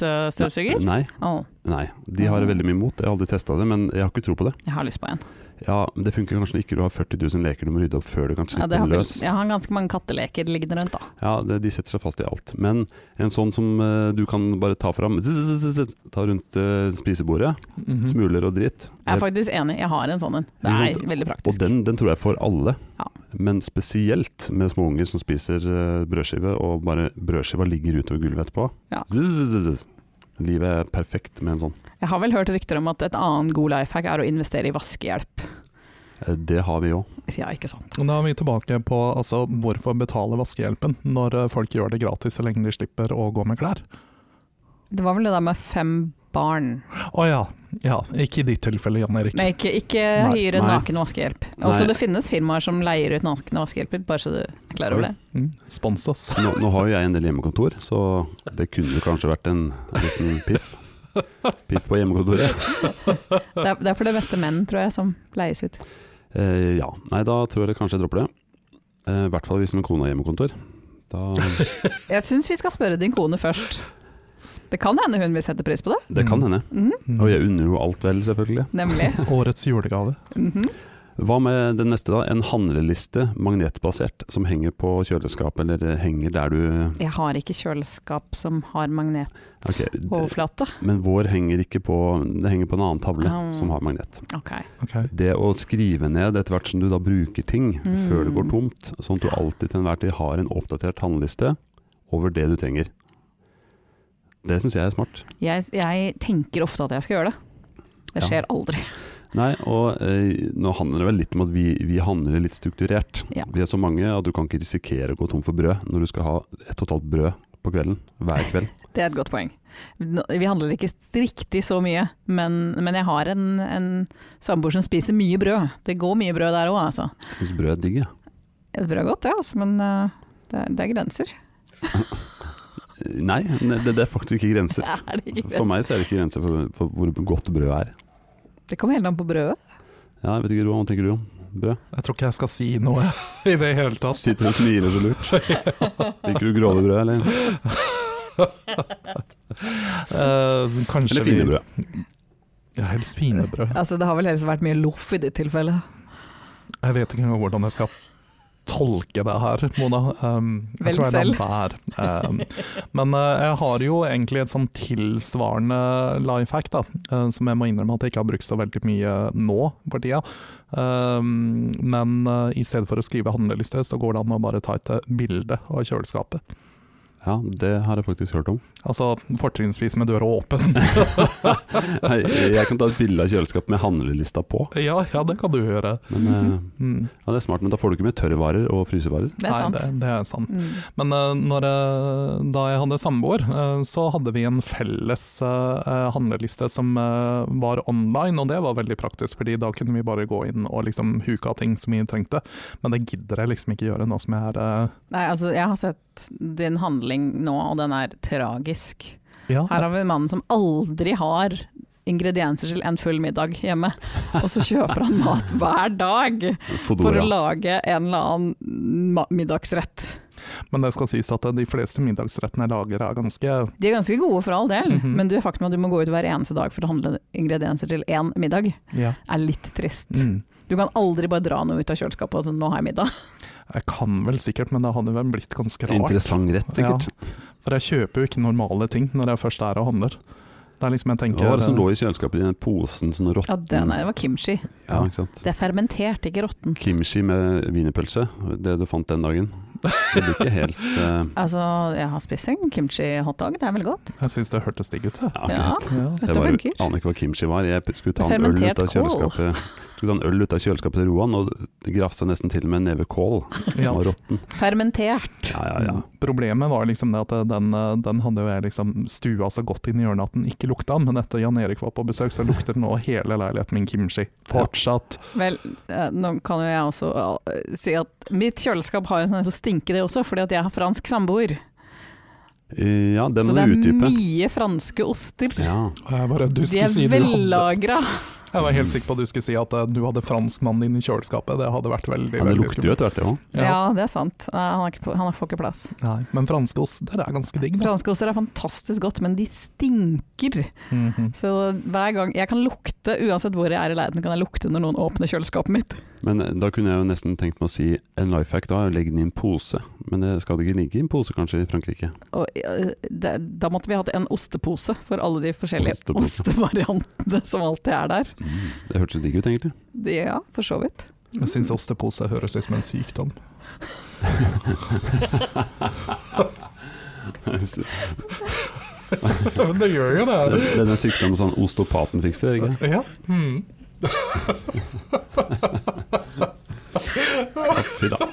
robotstøvsuger? Nei, Å, nei. De har Mhm. veldig mye mot. Jeg har aldri testa det, men jeg har ikke tro på det. jeg har lyst på en. Ja, Det funker kanskje ikke når du har 40 000 leker du må rydde opp før du kan Ja, slippe det har den vel, løs. jeg har ganske mange katteleker liggende rundt, da. Ja, det, de setter seg fast i alt. Men en sånn som eh, du kan bare ta fram zzz, zzz, zzz, zzz, Ta rundt eh, spisebordet. Mm. Mhm. Smuler og dritt. Jeg er Eh, faktisk enig, jeg har en sånn en. Det Ikke er sant? veldig og praktisk. den, den tror jeg for alle, Ja. men spesielt med små unger som spiser eh, brødskive, og bare brødskiva ligger utover gulvet etterpå. Ja. Zzz, zzz, zzz, zzz. Livet er perfekt med en sånn. Jeg har vel hørt rykter om at et annet god life hack er å investere i vaskehjelp. Eh, Det har vi òg. Ja, ikke sant. Og Da er vi tilbake på altså, hvorfor betale vaskehjelpen når eh, folk gjør det gratis så lenge de slipper å gå med klær. Det var vel det der med fem barn. Å ja. ja. Ikke i ditt tilfelle, Jan Erik. Nei, ikke, ikke Nei, hyre nei. naken vaskehjelp. Nei. Også det finnes firmaer som leier ut nakne vaskehjelper, bare så du er klar over det. Mm. Spons oss. Nå, nå har jo jeg en del hjemmekontor, så det kunne jo kanskje vært en liten piff. Piff på hjemmekontoret. Det er, det er for det meste menn, tror jeg, som leies ut. Eh, ja, nei da tror jeg det kanskje jeg dropper det. Eh, I hvert fall hvis min kone har hjemmekontor. Da, Jeg syns vi skal spørre din kone først. Det kan hende hun vil sette pris på det. det kan hende. Mhm, Mm. Og jeg unner jo alt vel, selvfølgelig. nemlig. Årets julegave. Mhm. Hva med den neste, da? En handleliste, magnetbasert, som henger på kjøleskap, eller eh, henger der du Jeg har ikke kjøleskap som har Ok, d- magnetoverflate. Men vår henger ikke på Det henger på en annen tavle Ah. som har magnet. Ok. Ok. Det å skrive ned etter hvert som du da bruker ting, Mm. før det går tomt, sånn at du alltid til enhver tid har en oppdatert handleliste over det du trenger. Det syns jeg er smart. Jeg, jeg tenker ofte at jeg skal gjøre det. Det Ja. skjer aldri. Nei, og eh, nå handler det vel litt om at vi, vi handler litt strukturert. Ja. Vi er så mange at du kan ikke risikere å gå tom for brød når du skal ha ett og et halvt brød på kvelden. Hver kveld. Det er et godt poeng. Nå- Vi handler ikke riktig så mye, men, men jeg har en, en samboer som spiser mye brød. Det går mye brød der òg, altså. Jeg syns brød er digg, jeg. Brød er godt, det, altså, men eh, det, er- det er grenser. Eh, Nei, ne- det, det er faktisk ikke grenser. Er det, ikke For meg så er det ikke grenser for, for hvor godt brød er. det kommer helt an på brødet. Ja, jeg vet ikke, Roan, hva tenker du om brød? Jeg tror ikke jeg skal si noe i det hele tatt. Sitter og smiler så lurt. Liker du grove brød, eller? Eh, kanskje Eller fine vi- brød? Ja, helst finebrød. Altså, det har vel helst vært mye loff i ditt tilfelle. Jeg vet ikke engang hvordan jeg skal tolke det her, Mona. Um, jeg Vel tror jeg selv. lar være. Um, men eh, jeg har jo egentlig et sånn tilsvarende life hack, da, eh, som jeg må innrømme at jeg ikke har brukt så veldig mye nå for tida. Um, men eh, i stedet for å skrive handleliste, så går det an å bare ta et eh, bilde av kjøleskapet. Ja, det har jeg faktisk hørt om. Altså fortrinnsvis med døra åpen. Nei, jeg kan ta et bilde av kjøleskapet med handlelista på. ja, ja, det kan du gjøre. Men eh, Mm. ja, det er smart, men da får du ikke med tørrvarer og frysevarer. Det er Nei, sant. Det, det er sant. Mm. Men eh, når, jeg- da jeg hadde samboer, eh, så hadde vi en felles eh, eh, handleliste som eh, var online, og det var veldig praktisk, fordi da kunne vi bare gå inn og liksom huke av ting som vi trengte. Men det gidder jeg liksom ikke gjøre nå som jeg er eh, Nei, altså, jeg har sett din handling nå, og den er tragisk. ja, Her har vi mannen som aldri har ingredienser til en full middag hjemme, og så kjøper han mat hver dag for å Fodora. lage en eller annen ma- middagsrett. Men det skal sies at eh, de fleste middagsrettene jeg lager er ganske De er ganske gode for all del, Mhm. men du, faktum at du må gå ut hver eneste dag for å handle ingredienser til én middag, ja. er litt trist. mm. Du kan aldri bare dra noe ut av kjøleskapet og sånn 'nå har jeg middag'. Jeg kan vel sikkert, men det hadde vel blitt ganske rart. Interessant rett, sikkert. For jeg kjøper jo ikke normale ting når jeg først er og handler. Det er liksom jeg tenker Hva var det som eh, lå i kjøleskapet i den posen sånn råtten? Ja, det, nei, det var kimchi. Ja, ikke sant? Det er fermentert, ikke råttent. Kimchi med wienerpølse, det du fant den dagen. Det blir ikke helt eh, Altså, jeg har spist en kimchi-hotdog, det er veldig godt. eh, Jeg syns det hørtes digg ut, jeg. ja, Ja. greit. Ja. Dette Jeg bare funker. aner ikke hva kimchi var. Jeg skulle ta en øl Fermentert ut av kål. kjøleskapet. tok han øl ut av kjøleskapet til Roan og grafsa nesten til med en neve kål Ja. som var råtten. Fermentert. Ja, ja, ja. Mm. Problemet var liksom det at den, eh, den hadde jo jeg liksom stua så godt inn i hjørnet at den ikke lukta, men etter Jan Erik var på besøk, så lukter nå hele leiligheten min kimchi. Fortsatt. Vel, eh, nå kan jo jeg også eh, si at mitt kjøleskap har en sånn så stinker det også, fordi at jeg har fransk samboer. Eh, ja den Mm. så må det du er utdype. mye franske oster. Ja. Og Jeg, bare, du De skulle er si du hadde, vellagra. jeg var helt sikker på at du skulle si at eh, du hadde franskmannen din i kjøleskapet. Det hadde vært veldig Ja, det veldig lukter jo etter hvert, det òg. Ja. Ja, det er sant. Nei, han, har ikke, pl- han får ikke plass. Nei, men franske oster er ganske digg. da. Franske oster er fantastisk godt, men de stinker. Mhm. Så hver gang Jeg kan lukte, uansett hvor jeg er i leiligheten, kan jeg lukte når noen åpner kjøleskapet mitt. Men eh, da kunne jeg jo nesten tenkt meg å si en life hack da, legg den i en pose. Men det skal det ikke ligge i en pose kanskje i Frankrike? Og, eh, det, da måtte vi hatt en ostepose for alle de forskjellige Ostepose. ostevariantene som alltid er der. Mm. Det hørtes digg ut egentlig. Det, ja, for så vidt. Jeg syns ostepose høres ut som en sykdom. men det gjør jo Det det er den sykdommen sånn ostopaten fikser, er det ikke? Ja. Mm. Fy da.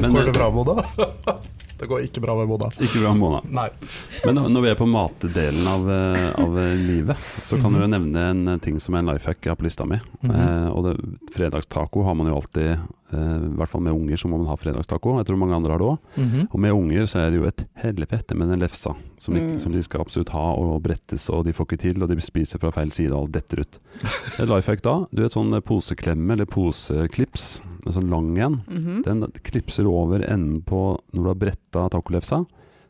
Men, Går det eh, bra med Boda? Det går ikke bra med Boda. ikke bra, Mona. Nei. Men nå- når vi er på matdelen av, eh, av eh, livet, så kan du jo nevne en eh, ting som er en life hack jeg har på lista mi. Mhm. Eh, og det, fredagstaco har man jo alltid, eh, i hvert fall med unger så må man ha fredagstaco. Jeg tror mange andre har det òg. Mhm. Og med unger så er det jo et helvete med den lefsa som de, Mm. som de skal absolutt ha og brettes, og de får ikke til, og de spiser fra feil side og alt detter ut. Et life hack da, du vet sånn poseklemme eller poseklips, en sånn lang en, Mhm. den klipser over enden på når du har bretta tacolefsa,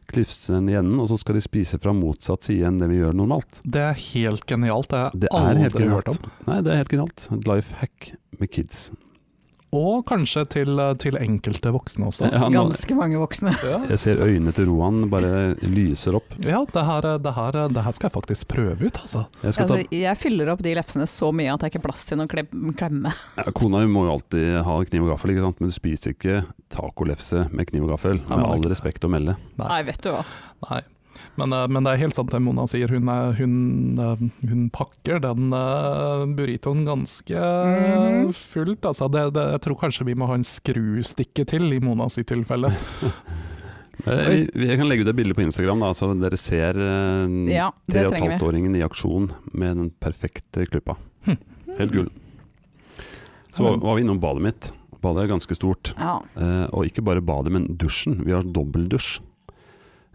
klipser den i enden, og så skal de spise fra motsatt side enn det vi gjør normalt. Det er helt genialt. Det har jeg Det er helt aldri hørt om. genialt. Nei, det er helt genialt. Et life hack med kids. Og kanskje til, eh, til enkelte voksne også. Ja, nå, Ganske mange voksne. Ja. jeg ser øynene til Roan bare lyser opp. Ja, det her, det, her, det her skal jeg faktisk prøve ut, altså. Jeg skal ta Altså, jeg fyller opp de lefsene så mye at det er ikke plass til noen klem, klemme. Ja, kona må jo alltid ha kniv og gaffel, ikke sant? men du spiser ikke tacolefse med kniv og gaffel. Nei, Med nei. all respekt å melde. Nei. Nei, vet du hva. Nei. Men, eh, men det er helt sant det Mona sier, hun, er, hun, eh, hun pakker den eh, burritoen ganske eh, Mhm. fullt. Altså, det, det, jeg tror kanskje vi må ha en skrustikke til i Monas i tilfelle. Eh, vi- Jeg kan legge ut et bilde på Instagram, da, så dere ser eh, Ja, tre det og et trenger halvt vi. åringen i aksjon med den perfekte klippa. Hm. Helt gull. Så var- var vi innom badet mitt. Badet er ganske stort. Ja. Eh, og ikke bare badet, men dusjen. Vi har dobbeldusj.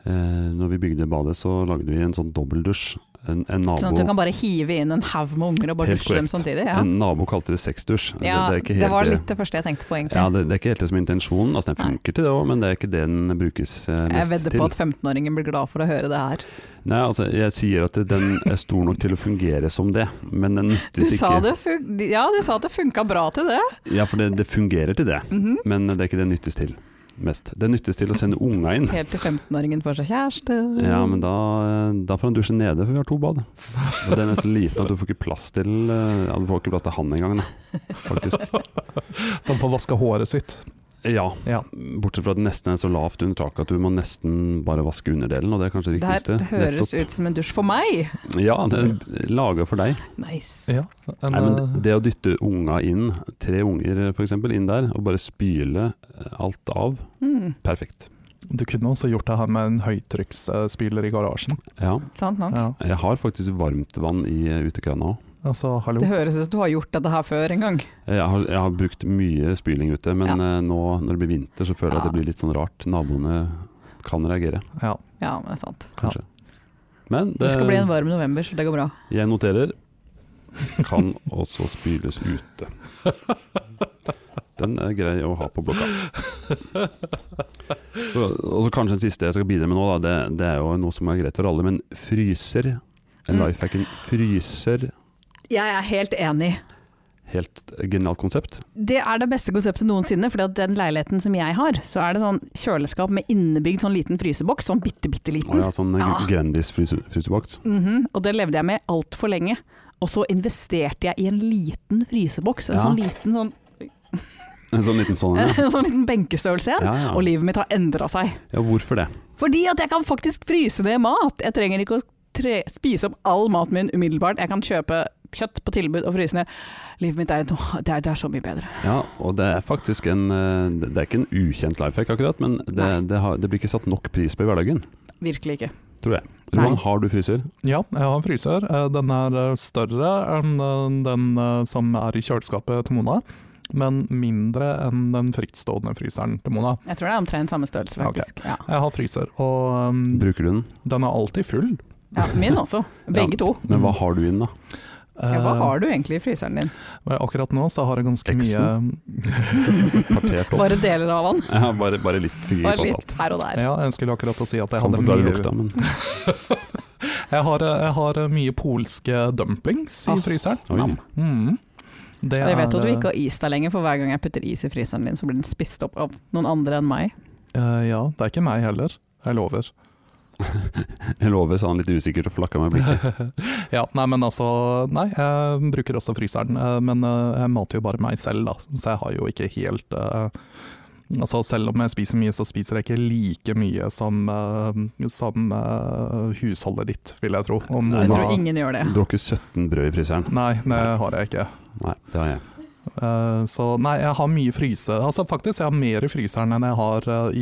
Eh, når vi bygde badet, så lagde vi en sånn dobbeldusj. En, en nabo Sånn at du kan bare hive inn en haug med unger og bare Helt dusje dem korrekt. samtidig. Ja. En nabo kalte det sexdusj. det, Ja, det er ikke helt var litt det første jeg tenkte på, egentlig. Ja, det, det er ikke helt det som er intensjonen. Altså, den Nei. funker til det òg, men det er ikke det den brukes eh, jeg mest vedder til. på at 15-åringen blir glad for å høre det her. Nei, altså, jeg sier at den er stor nok til å fungere som det, men den Du nyttes sa, ikke. det fun ja, du sa at det funka bra til det. Ja, for det, det fungerer til det, Mhm. men det er ikke det den nyttes til mest. Det nyttes til å sende unga inn. Helt til 15-åringen får seg kjæreste. Ja, men da, eh, da får han dusje nede, for vi har to bad. Og den er så liten at du får ikke plass til eh, Ja, du får ikke plass til han engang, da, faktisk. Som får vaske håret sitt. Ja, Ja. bortsett fra at den nesten er så lavt under taket at du må nesten bare vaske underdelen, og det er kanskje det det viktigste. her høres Nettopp. ut som en dusj for meg! Ja, det er laga for deg. Nice. Ja, en, Nei, eh, men det å dytte unga inn, tre unger f.eks., inn der, og bare spyle eh, alt av, Mm, perfekt. Du kunne også gjort det her med en høytrykksspyler i garasjen. Ja. sant nok. Ja. Jeg har faktisk varmtvann i eh, utekrana òg. Altså, hallo. Det høres ut som du har gjort dette her før en gang. Eh, Jeg, har- jeg har brukt mye spyling ute, men eh, nå når det blir vinter, så føler jeg at det Ja. blir litt sånn rart. Naboene kan reagere, Ja. Ja, men det er sant. kanskje. Men Det det, skal bli en varm november, så det går bra. jeg noterer kan også spyles ute. Den er grei å ha på blokka. Så, og så kanskje den siste jeg skal bidra med nå, da, det, det er jo noe som er greit for alle, men fryser. En Mm. lifehacken fryser. Jeg er helt enig. Helt genialt konsept. Det er det beste konseptet noensinne, for den leiligheten som jeg har, så er det sånn kjøleskap med innebygd sånn liten fryseboks, sånn bitte, bitte Og liten. ja, sånn Ja. Grandis-fryseboks. Mhm, Og det levde jeg med altfor lenge. Og så investerte jeg i en liten fryseboks, en Ja. sånn liten sånn, En sånn liten sånn en. en sånn liten benkestørrelse en. Ja, ja. Og livet mitt har endra seg. ja, hvorfor det? Fordi at jeg kan faktisk fryse ned mat. Jeg trenger ikke å tre spise opp all maten min umiddelbart. Jeg kan kjøpe kjøtt på tilbud og fryse ned. Livet mitt er, et, åh, det er, det er så mye bedre. Ja, og det er faktisk en eh, Det det er ikke en ukjent life hack akkurat, men det, Nei. det, har, det blir ikke satt nok pris på i hverdagen, Virkelig ikke. tror jeg. Nei. Roman, har du fryser? Ja, jeg har en fryser. Eh, Den er eh, større enn eh, den eh, som er i kjøleskapet til Mona, men mindre enn den frittstående fryseren til Mona. Jeg tror det er omtrent samme størrelse, Ok. faktisk. Ja. Jeg har fryser, og um, Bruker du den? den er alltid full. Ja, min også. Begge to. Men hva har du i den, da? Ja, hva Eh, har du egentlig i fryseren din? men Akkurat nå så har jeg ganske mye Partert opp? Bare deler av den? Ja, bare, bare litt Bare fingerpå litt salt. her og der. Ja, jeg skulle akkurat å si at jeg Kan hadde forklare mye lukta, men Jeg har, eh, jeg har mye polske dumplings i Åh. fryseren. Oi. Mm. Det Og jeg Ah. vet er, at du ikke har is der lenger, for hver gang jeg putter is i fryseren din, så blir den spist opp av noen andre enn meg. eh, Ja, det er ikke meg heller. Jeg lover. Jeg lover, sa han litt usikkert og flakka med blikket. ja, nei, men altså Nei, jeg bruker også fryseren, eh, men eh, jeg mater jo bare meg selv, da. Så jeg har jo ikke helt eh, Altså, selv om jeg spiser mye, så spiser jeg ikke like mye som, eh, som eh, husholdet ditt, vil jeg tro. Om Nei, Mm. Jeg Mona- tror ingen gjør det. Du har ikke 17 brød i fryseren? Nei, det har jeg ikke. Nei, det har jeg. Eh, så nei, jeg har mye fryse. Altså faktisk, jeg har mer i fryseren enn jeg har eh, i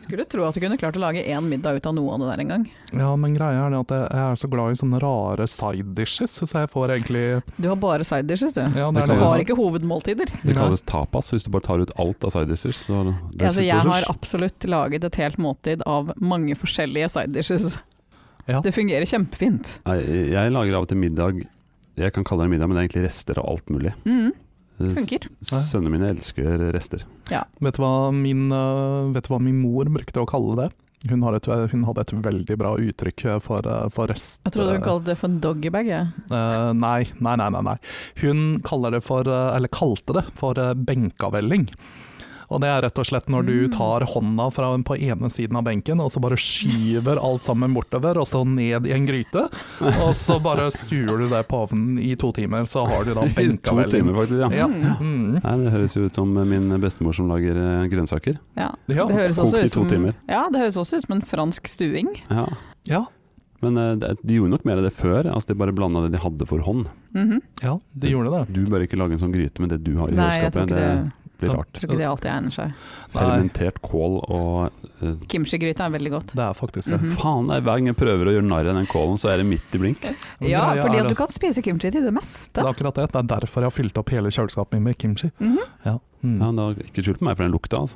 Skulle tro at du kunne klart å lage én middag ut av noe av det der en gang. ja, men greia er det at jeg, jeg er så glad i sånne rare side dishes, så jeg får egentlig Du har bare side dishes, du. ja, Det er Du kalles- har ikke hovedmåltider. Det Nei. kalles tapas hvis du bare tar ut alt av side dishes. Så det er Altså, jeg har sluttdishes. absolutt laget et helt måltid av mange forskjellige side dishes. Ja. Det fungerer kjempefint. Nei, jeg, lager av og til middag Jeg kan kalle det middag, men det er egentlig rester av alt mulig. Mm, S- funker. Sønnene mine elsker rester. Vet du, hva min, eh, vet du hva min mor brukte å kalle det? Hun, har et, hun hadde et veldig bra uttrykk eh, for, eh, for rest... Jeg trodde hun kalte det for en doggybag. jeg. Eh, nei, nei, nei, nei, nei. Hun kaller det for, eh, eller kalte det for eh, benkavelling. Og det er rett og slett når du Mm. tar hånda fra, på ene siden av benken, og så bare skyver alt sammen bortover, og så ned i en gryte. Og så bare stuer du det på ovnen i to timer, så har du da To benkavelling. timer, faktisk. ja. Ja. Mm. Mm. Nei, det høres jo ut som eh, min bestemor som lager eh, grønnsaker. Ja. Ja, Det høres kokt også i ut to som, timer. ja, det høres også ut som en fransk stuing. Ja. ja, Men eh, det- de gjorde nok mer av det før. Altså De bare blanda det de hadde for hånd. Mhm. ja, de gjorde det. Du bør ikke lage en sånn gryte med det du har i Nei, jeg tror kjøleskapet. ikke det, Det blir rart. jeg tror ikke det alltid egner seg. Nei, Fermentert kål og eh, Kimchi-gryte er veldig godt. det er faktisk det. Mhm. Faen, det er hver gang jeg prøver å gjøre narr av den kålen, så er det midt i blink. Men Ja, greia fordi er at du at- kan spise kimchi til det meste. Det er akkurat det. Det er derfor jeg har fylt opp hele kjøleskapet mitt med kimchi. Mhm. Ja. Mm. Ja, det har ikke skjult på meg for den lukta, altså.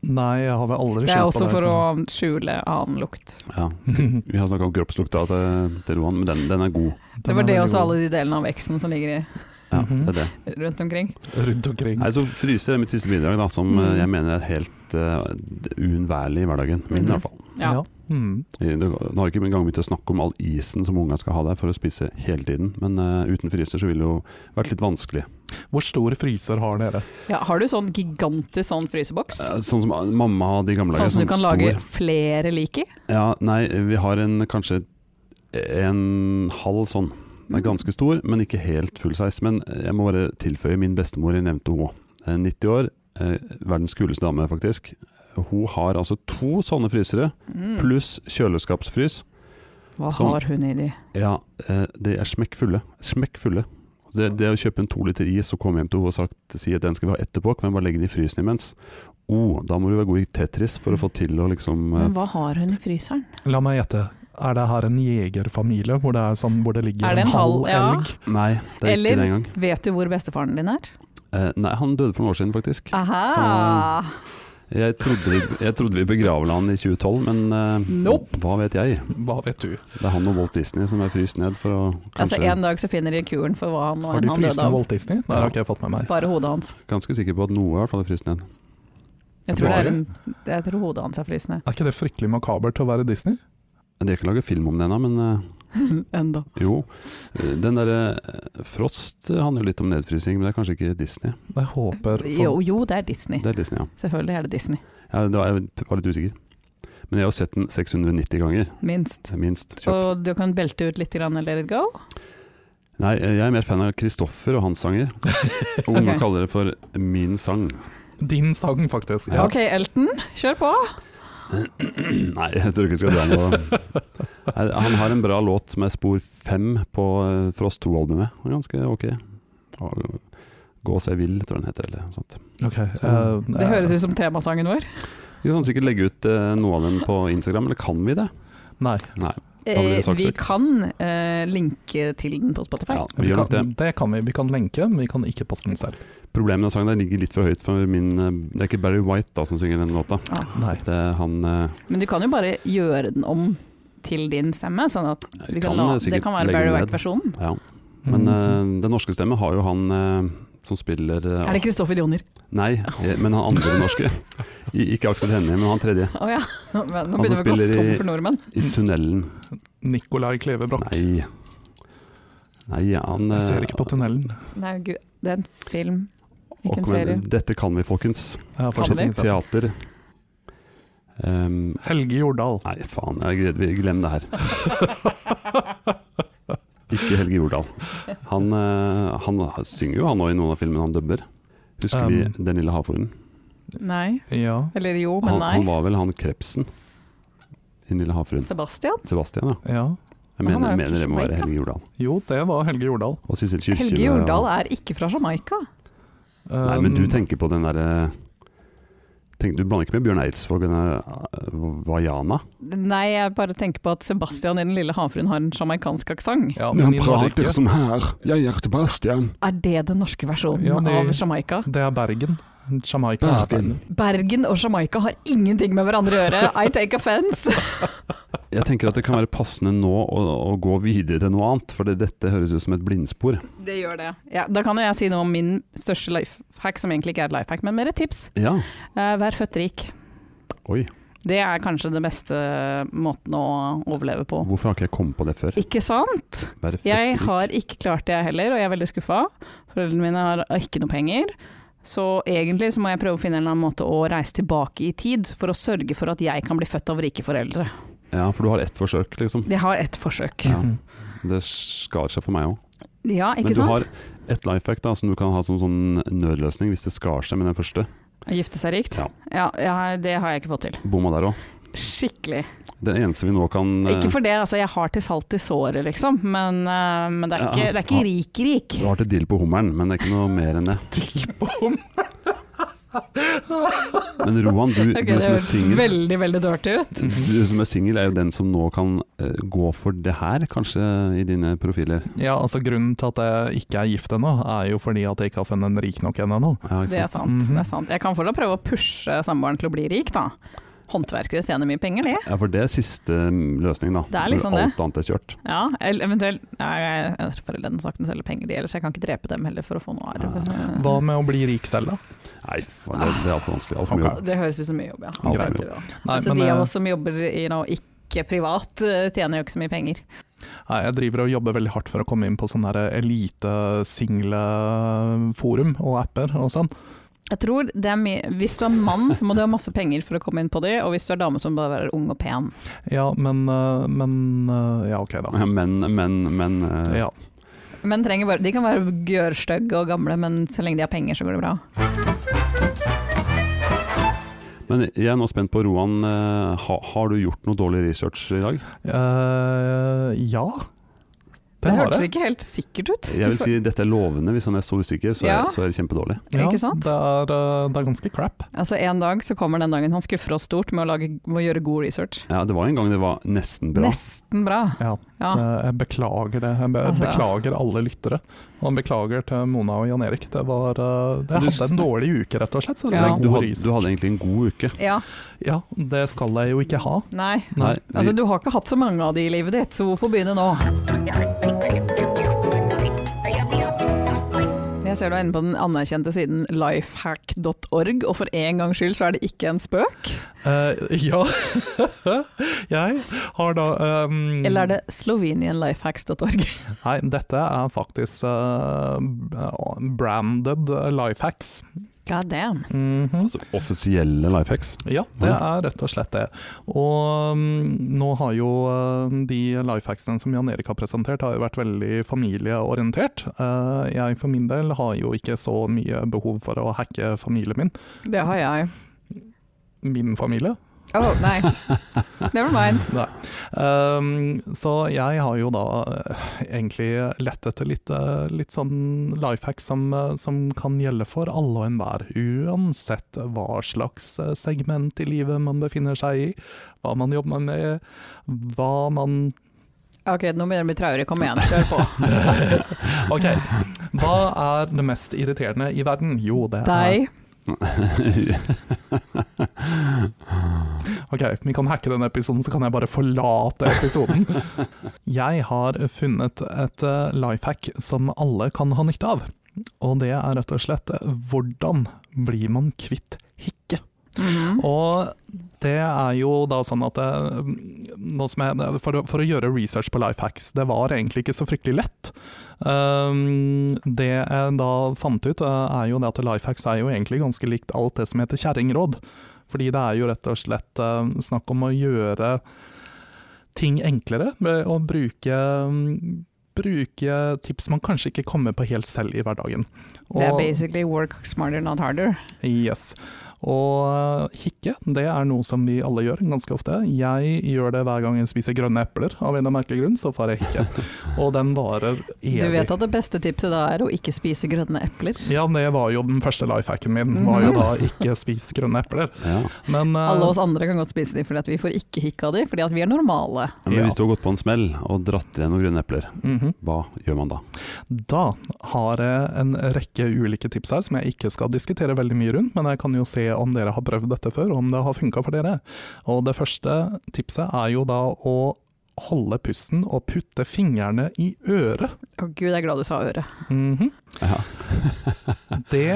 Nei, jeg har vel aldri Det er skjønt på også det. for å skjule annen lukt. Ja. Vi har snakka om kroppslukta til, til Roan, men den, den er god. Det var det også alle de delene av X-en som ligger i, Ja, Mhm. det er det. rundt omkring. rundt omkring. Nei, så Fryser er mitt siste bidrag, da, som Mm. eh, jeg mener er helt eh, uunnværlig i hverdagen. Min, Mhm. i hvert fall. Ja. Mm. Jeg- Nå har jeg ikke engang begynt å snakke om all isen som unga skal ha der for å spise hele tiden, men eh, uten fryser så ville det jo vært litt vanskelig. Hvor stor fryser har dere? Ja, har du sånn gigantisk sånn fryseboks? Eh, sånn som eh, mamma hadde i gamle dager. Sånn som du kan lage stor. flere lik i? Ja, nei, vi har en kanskje en halv sånn. Den er Mm. ganske stor, men ikke helt full size. Men eh, jeg må bare tilføye min bestemor, jeg nevnte hun òg. 90 år, eh, verdens kuleste dame faktisk. Hun har altså to sånne frysere, Mm. pluss kjøleskapsfrys. Hva sånn. har hun i de? Ja, eh, de er smekkfulle. Smekkfulle. Det, det å kjøpe en to liter is og komme hjem til henne og sagt, si at den skal vi ha etterpå, kan vi bare legge den i frysen imens. Oh, da må du være god i Tetris for å få til å liksom eh, Men hva har hun i fryseren? La meg gjette. Er det her en jegerfamilie hvor det, er sånn, hvor det ligger Er det en, en halv halv- ja. elg? Nei, det er Eller- ikke det engang. Vet du hvor bestefaren din er? Eh, nei, han døde for noen år siden, faktisk. Aha! Jeg trodde vi, jeg trodde vi begravde han i 2012, men eh, Nope. hva vet jeg? Hva vet du? Det er han og Walt Disney som er fryst ned for å Altså, kanskje, en dag så finner de kuren for hva han, Har de han døde fryst ned av. Walt Disney? Det Ja. har ikke jeg fått med meg. Bare hodet hans. Ganske sikker på at noe i hvert fall er fryst ned. Jeg tror, det er Bare? en, jeg tror hodet hans er frysende. Er ikke det fryktelig makabert til å være Disney? De har ikke laget film om det ennå, men eh, Enda. jo. Eh, Den derre eh, Frost eh, handler jo litt om nedfrysing, men det er kanskje ikke Disney. Jeg håper for, Jo, jo, det er Disney. Det er Disney, ja. Selvfølgelig er det Disney. ja det var, jeg var litt usikker. Men jeg har sett den 690 ganger, Minst. minst. Kjøpt. Og du kan belte ut litt grann and let it go. Nei, eh, jeg er mer fan av Kristoffer og hans sanger. Unge Ok. kaller det for Min sang. Din sang, faktisk. Ja. Ok, Elton, kjør på. Nei, jeg tror ikke vi skal dra noe Nei, Han har en bra låt med spor fem på eh, Frost 2-albumet. Den er Ganske ok. Og Gå seg vill, tror jeg den heter. Eller noe sånt. Ok, Så- eh, Det høres ut som temasangen vår. Vi kan sikkert legge ut eh, noe av den på Instagram, eller kan vi det? Nei. Nei. Da blir det Eh, saksøkt. vi kan eh, linke til den på Spotify. Ja, vi gjør nok det. kan, det kan vi. Vi kan lenke, men vi kan ikke poste den selv. Problemet med den sangen der ligger litt for høyt for min eh, Det er ikke Barry White da som synger den låta. Ja. Nei. Det er han eh, Men du kan jo bare gjøre den om til din stemme, sånn at vi Jeg kan kan la, sikkert det kan være legge Barry den ned. White-versjonen. Ja. Men Mm. eh, den norske stemmen har jo han eh, som spiller eh, Er det Kristoffer Joner? Nei, eh, men han andre norske. I, ikke Aksel Hennie, men han tredje. Å ja. som Men Nå begynner vi å gå spiller i- tom for nordmenn. I Mm. tunnelen. Nicolai Klevebrok. Nei. Nei, han Jeg ser eh, ikke på tunnelen. Nei, gud. Det er en film, ikke og en kom igjen, serie. Dette kan vi, folkens. Jeg har fortsatt Kan vi? ikke sett. Teater. Ehm, Helge Jordal. nei, faen. Jeg, gled- glem det her. Ikke Helge Jordal. Han, eh, han synger jo han òg i noen av filmene han dubber. Husker Um, vi Den lille havfruen? Nei. Ja. Eller jo, men Han, han nei. var vel han Krepsen i Den lille havfruen. Sebastian? Sebastian, ja. ja. Jeg Han mener, er jo mener det må være flink, da. Helge Jordal. Jo, det var Helge Jordal. Og Sissel Kyrkjebø. Helge Jordal er ikke fra Jamaica. Nei, men du Um, tenker på den derre tenk- Du blander ikke med Bjørn Eidsvåg og denne Vaiana? Nei, jeg bare tenker på at Sebastian i Den lille havfruen har en jamaicansk aksent. ja, men i Norge, som her. Jeg er Sebastian. Er det den norske versjonen Ja, det- av Jamaica? det er Bergen. Jamaica. Ah, er Bergen. Bergen og Jamaica har ingenting med hverandre å gjøre. I take offense! Jeg tenker at det kan være passende nå å, å gå videre til noe annet, for det, dette høres ut som et blindspor. Det gjør det. Ja, da kan jo jeg si noe om min største life hack, som egentlig ikke er et life hack, men mer et tips. Ja, Eh, vær født rik. oi, Det er kanskje den beste måten å overleve på. hvorfor har ikke jeg kommet på det før? Ikke sant? Bare fett Jeg dritt. har ikke klart det jeg heller, og jeg er veldig skuffa. Foreldrene mine har ikke noe penger. Så egentlig så må jeg prøve å finne en eller annen måte å reise tilbake i tid, for å sørge for at jeg kan bli født av rike foreldre. Ja, for du har ett forsøk, liksom. Jeg har ett forsøk. det. Ja. Det skar seg for meg òg. Ja, Men ikke du sant? har et life hack da, som du kan ha som sånn nødløsning hvis det skar seg med den første. Å Gifte seg rikt? Ja. Ja, ja, det har jeg ikke fått til. Bomma der òg. Skikkelig. Den eneste vi nå kan eh, Ikke for det, altså. Jeg har til salt i såret, liksom. Men, eh, men det er Ja, ikke, det er ikke ja. rik-rik. Du har til deal på hummeren, men det er ikke noe mer enn det. Men Roan, du, du Ok, det som er høres singel veldig, veldig dirty ut. Du som er singel, er jo den som nå kan eh, gå for det her, kanskje, i dine profiler. Ja, altså Grunnen til at jeg ikke er gift ennå, er jo fordi at jeg ikke har funnet en rik nok en ennå. Ja, ikke Det er sant? sant. Mhm. det er sant. Jeg kan fortsatt prøve å pushe samboeren til å bli rik, da. Håndverkere tjener mye penger, de. Ja, for det er siste mm, løsning, da. Det er liksom Når alt annet er kjørt. Ja, eller eventuelt Nei, jeg- jeg- foreldrene sagt de selger penger, de, ellers jeg kan ikke drepe dem heller for å få noe arv. Hva med å bli rik selv, da? Nei, faen, det, det er altfor vanskelig. Altfor mye jobb. Det høres ut som mye jobb, ja. for mye Selvfølgelig, da. Nei, altså, men de av eh, oss som jobber i noe ikke privat, eh, tjener jo ikke så mye penger. nei, jeg driver og jobber veldig hardt for å komme inn på sånn sånne her elite-single-forum og apper og sånn. Jeg tror det er mye Hvis du er mann, så må du ha masse penger for å komme inn på de, og hvis du er dame, så må du bare være ung og pen. Ja, men, eh, men eh, Ja, ok, da. Ah. Ja, Men, men, men eh, Ja. Men trenger bare De kan være gørrstygge og gamle, men så lenge de har penger, så går det bra. Men jeg er nå spent på, Roan, eh, ha, har du gjort noe dårlig research i dag? Eh, ja. Det Det har hørtes jeg. ikke helt sikkert ut. Jeg vil si dette er lovende. Hvis han er så usikker, så er, Ja. så er det kjempedårlig. Ja, Ikke sant? Det er, eh, det er ganske crap. Altså En dag så kommer den dagen han skuffer oss stort med å, lage, med å gjøre god research. Ja, det var en gang det var nesten bra. Nesten bra. Ja, Ja. Eh, Jeg beklager det. Jeg be Altså, ja. beklager alle lyttere. Og han beklager til Mona og Jan Erik. Det var eh, Så Jeg du- hadde en dårlig uke, rett og slett. Så det Ja. var Du, god hadde, ris. du hadde egentlig en god uke. Ja, Ja, det skal jeg jo ikke ha. nei. Nei, Altså vi- Du har ikke hatt så mange av de i livet ditt, så hvorfor begynne nå? Jeg ser du er inne på den anerkjente siden lifehack.org, og for en gangs skyld så er det ikke en spøk. Eh, ja. jeg har da Mm. ehm, Eller er det slovenianlifehacks.org? Nei, dette er faktisk eh, branded life hacks. God damn. Mhm. altså, offisielle life hacks. Ja, det er rett og slett det. Og mm, nå har jo eh, de lifehacksene som Jan Erik har presentert, har jo vært veldig familieorientert. Eh, Jeg for min del har jo ikke så mye behov for å hacke familien min. Det har jeg. Min familie. Oh, nei. Never mind. Um, så jeg har jo da eh, egentlig lett etter litt, eh, litt sånn life hacks som, eh, som kan gjelde for alle og enhver, uansett hva slags eh, segment i livet man befinner seg i, hva man jobber med, hva man Ok, nå begynner det å bli traurig. Kom igjen, kjør på. Ok, hva er det mest irriterende i verden? Jo, det er Deg. Ok, vi kan hacke denne episoden, så kan jeg bare forlate episoden. Jeg har funnet et life hack som alle kan ha nytte av. Og det er rett og slett eh, hvordan blir man kvitt hikke? Mhm. Og det er jo da sånn at eh, nå som jeg, for, å- for å gjøre research på life hacks, det var egentlig ikke så fryktelig lett. Um, det jeg da fant ut, eh, er jo det at life hacks er jo egentlig ganske likt alt det som heter kjerringråd. Fordi det er jo rett og slett eh, snakk om å gjøre ting enklere ved å bruke mm, Bruke tips man kanskje ikke kommer på helt selv i hverdagen. Det er Og- basically work smarter, not harder. Yes. Og eh, hikke, det er noe som vi alle gjør ganske ofte. Jeg gjør det hver gang jeg spiser grønne epler, av en eller annen merkelig grunn, så får jeg hikke. Og den varer evig. Du vet at det beste tipset da er å ikke spise grønne epler? Ja, det var jo den første lifehacken min, var jo da ikke spis grønne epler. Ja. Men eh, Mhm. Alle oss andre kan godt spise de, fordi at vi får ikke hikk av de, fordi at vi er normale. Men Ja. hvis du har gått på en smell og dratt i deg noen grønne epler, mhm. hva gjør man da? Da har jeg en rekke ulike tips her som jeg ikke skal diskutere veldig mye rundt, men jeg kan jo se om dere har prøvd dette før, og om det har funka for dere. Og det første tipset er jo da å holde pusten og putte fingrene i øret. Å gud, jeg er glad du sa øre. Mhm. Ja. Det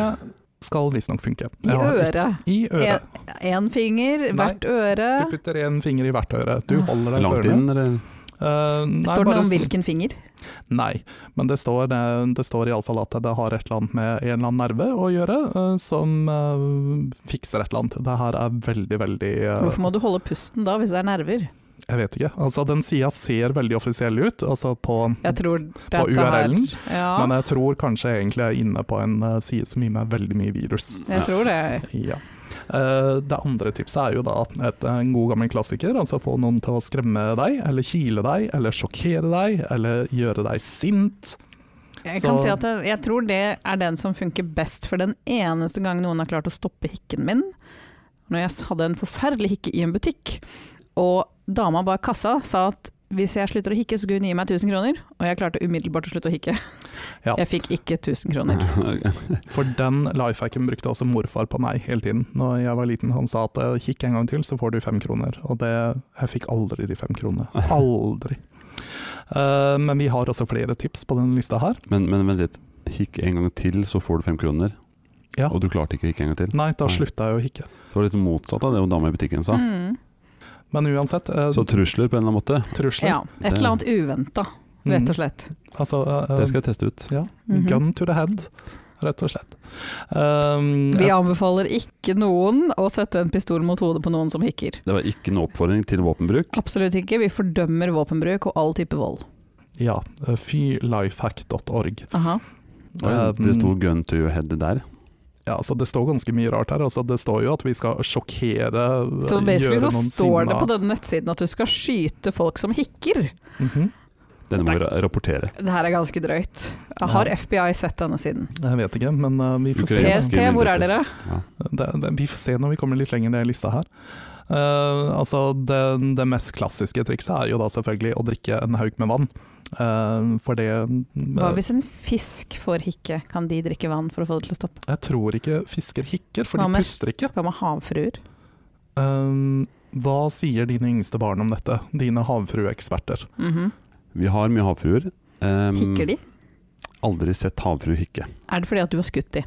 skal visstnok funke. I Jeg har ikke- øret. I øret. Én finger, Nei. hvert øre. Du putter én finger i hvert øre. Du holder deg for Langt ørene. inn, eller? Eh, nei, Står det bare noe om s- hvilken finger? Nei, men det står, eh, det, det står iallfall at det har et eller annet med en eller annen nerve å gjøre, eh, som eh, fikser et eller annet. Det her er veldig, veldig eh, Hvorfor må du holde pusten da, hvis det er nerver? Jeg vet ikke. Altså, den sida ser veldig offisiell ut, altså på Jeg tror på dette her- URL-en, Ja, men jeg tror kanskje jeg egentlig er inne på en eh, side som gir meg veldig mye virus. jeg tror det. Ja. Eh, Det andre tipset er jo da et, eh, en god gammel klassiker, altså få noen til å skremme deg, eller kile deg, eller sjokkere deg, eller gjøre deg sint. Jeg kan Så- si at jeg, jeg tror det er den som funker best, for den eneste gang noen har klart å stoppe hikken min, når jeg hadde en forferdelig hikke i en butikk, og dama bak kassa sa at hvis jeg slutter å hikke, så skulle hun gi meg 1000 kroner, og jeg klarte umiddelbart å slutte å hikke. Ja. Jeg fikk ikke 1000 kroner. For den lifehacken brukte også morfar på meg hele tiden. Når jeg var liten, han sa at eh, kikk en gang til, så får du fem kroner. Og det, jeg fikk aldri de fem kronene. Aldri. Eh, men vi har også flere tips på denne lista her. Men, men vent litt. Hikk en gang til, så får du fem kroner. Ja. Og du klarte ikke å hikke en gang til. Nei, da Nei. slutta jeg å hikke. Så var det liksom motsatt av det hun dama i butikken sa. Mm. Men uansett, eh, Så trusler på en eller annen måte, trusler. Ja, et eller annet uventa, rett og slett. Altså, eh, det skal jeg teste ut. ja, Mhm. gun to the head, rett og slett. Um, Vi anbefaler ikke noen å sette en pistol mot hodet på noen som hikker. Det var ikke noen oppfordring til våpenbruk. Absolutt ikke. Vi fordømmer våpenbruk og all type vold. ja, eh, fylifehack.org. Aha. Oi, Um, det sto 'gun to your head' der. Ja, altså det står ganske mye rart her. Altså det står jo at vi skal sjokkere, Så basically gjøre så noen står det sinna. på denne nettsiden at du skal skyte folk som hikker. Mhm. Denne må vi ra- rapportere. Det her er ganske drøyt. Har FBI sett denne siden? Jeg vet ikke, men eh, vi får se. Ukrainsk. PST, hvor er dere? Det, det, vi får se når vi kommer litt lenger ned i lista her. Eh, altså det, det mest klassiske trikset er jo da selvfølgelig å drikke en haug med vann. Eh, for det Hva hvis en fisk får hikke? Kan de drikke vann for å få det til å stoppe? Jeg tror ikke fisker hikker, for Hva de med- puster ikke. Hva med havfruer? Eh, hva sier dine yngste barn om dette, dine havfrueeksperter? Mhm. Vi har mye havfruer. Um, Hikker de? Aldri sett havfru hikke. Er det fordi at du har skutt de?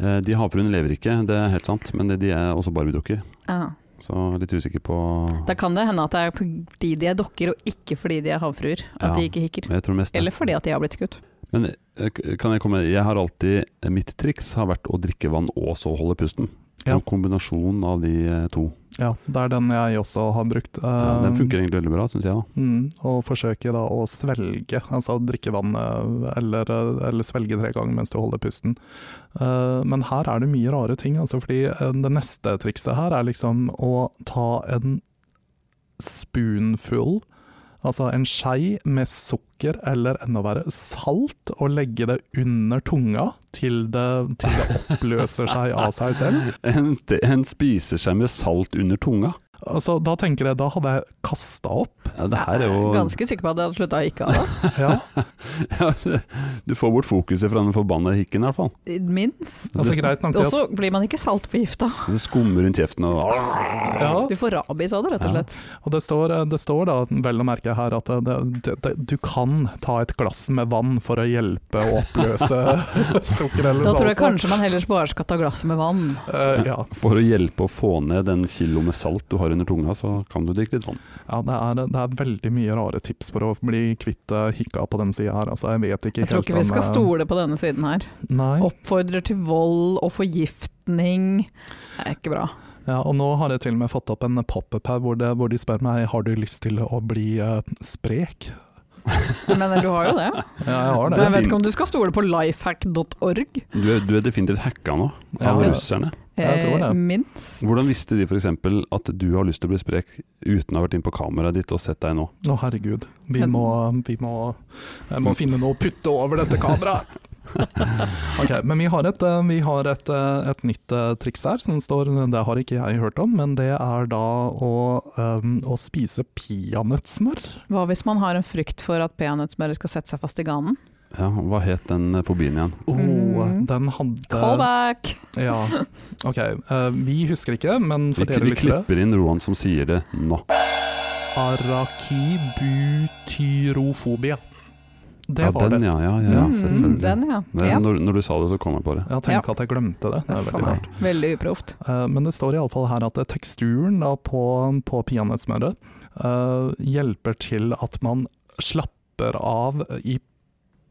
Eh, De havfruene lever ikke, det er helt sant, men de er også barbiedukker. Ja. Så litt usikker på Da kan det hende at det er fordi de er dokker og ikke fordi de er havfruer, at Ja. de ikke hikker. Men jeg tror mest det. Eller fordi at de har blitt skutt. Men eh, k- kan jeg komme Jeg har alltid Mitt triks har vært å drikke vann og så holde pusten. Ja. En kombinasjon av de eh, to. Ja, det er den jeg også har brukt. Um. Ja, den Eh, funker egentlig veldig bra, syns jeg. da. Mm, og forsøke da å svelge, altså drikke vann eh, eller, eller svelge tre ganger mens du holder pusten. Eh, men her er det mye rare ting, altså fordi eh, det neste trikset her er liksom å ta en spoonful, altså en skei med sukker eller enda verre salt, og legge det under tunga til det, til det oppløser seg av seg selv. En, en spiseskje med salt under tunga. Altså, da tenker jeg, da hadde jeg kasta opp. Ja, det her er jo Ganske sikker på at jeg hadde slutta å altså. ikke ha det. Ja. ja, Du får bort fokuset fra den forbanna hikken, i hvert fall. Minst. Altså, Det- greit nok, det- Og så blir man ikke saltforgifta. Det skummer rundt kjeften og ja. Du får rabies av det, rett og slett. Og det står, eh, det står da, vel å merke her, at eh, det, det, det, du kan ta et glass med vann for å hjelpe å oppløse sukker eller Da tror jeg salt. kanskje man heller bare skal ta glasset med vann. Eh, ja. For å hjelpe å få ned den kilo med salt du har under tunga, så kan du drikke litt vann. ja det, er, det er veldig mye rare tips for å bli kvitt eh, hikka på den sida her. Altså, jeg vet ikke Jeg tror helt ikke vi om, eh, skal stole på denne siden her. Nei. Oppfordrer til vold og forgiftning. Det er ikke bra. Ja, og nå har jeg til og med fått opp en pop-up her hvor, det, hvor de spør meg har du lyst til å bli eh, sprek. Men du har jo det. Ja, jeg har Men det. jeg vet ikke om du skal stole på lifehack.org. Du er, du er definitivt hacka nå, av Ja. russerne. Jeg tror det. Eh, minst. Hvordan visste de f.eks. at du har lyst til å bli sprek uten å ha vært inn på kameraet ditt og sett deg nå? Å, herregud. Vi må, vi må, jeg må finne noe å putte over dette kameraet! Ok, men vi har, et, eh, vi har et, eh, et nytt eh, triks her, som står, det har ikke jeg hørt om, men det er da å, eh, å spise peanøttsmør. Hva hvis man har en frykt for at peanøttsmøret skal sette seg fast i ganen? Ja, hva het den eh, fobien igjen? Åh, Mm. Den hadde Callback! Ja. Ok, eh, vi husker ikke, men Vi, for dere vi lyttere klipper inn Roan som sier det nå. Arakibutyrofobia. Det ja, var den, det. ja. ja, ja Mm, selvfølgelig. den, ja. Det- ja. Når, når du sa det, så kom jeg på det. Jeg tenker at jeg glemte det. Det er Uff a veldig meg. rart. Veldig uproft. Eh, Men det står iallfall her at eh, teksturen da på, på peanøttsmøret eh, hjelper til at man slapper av i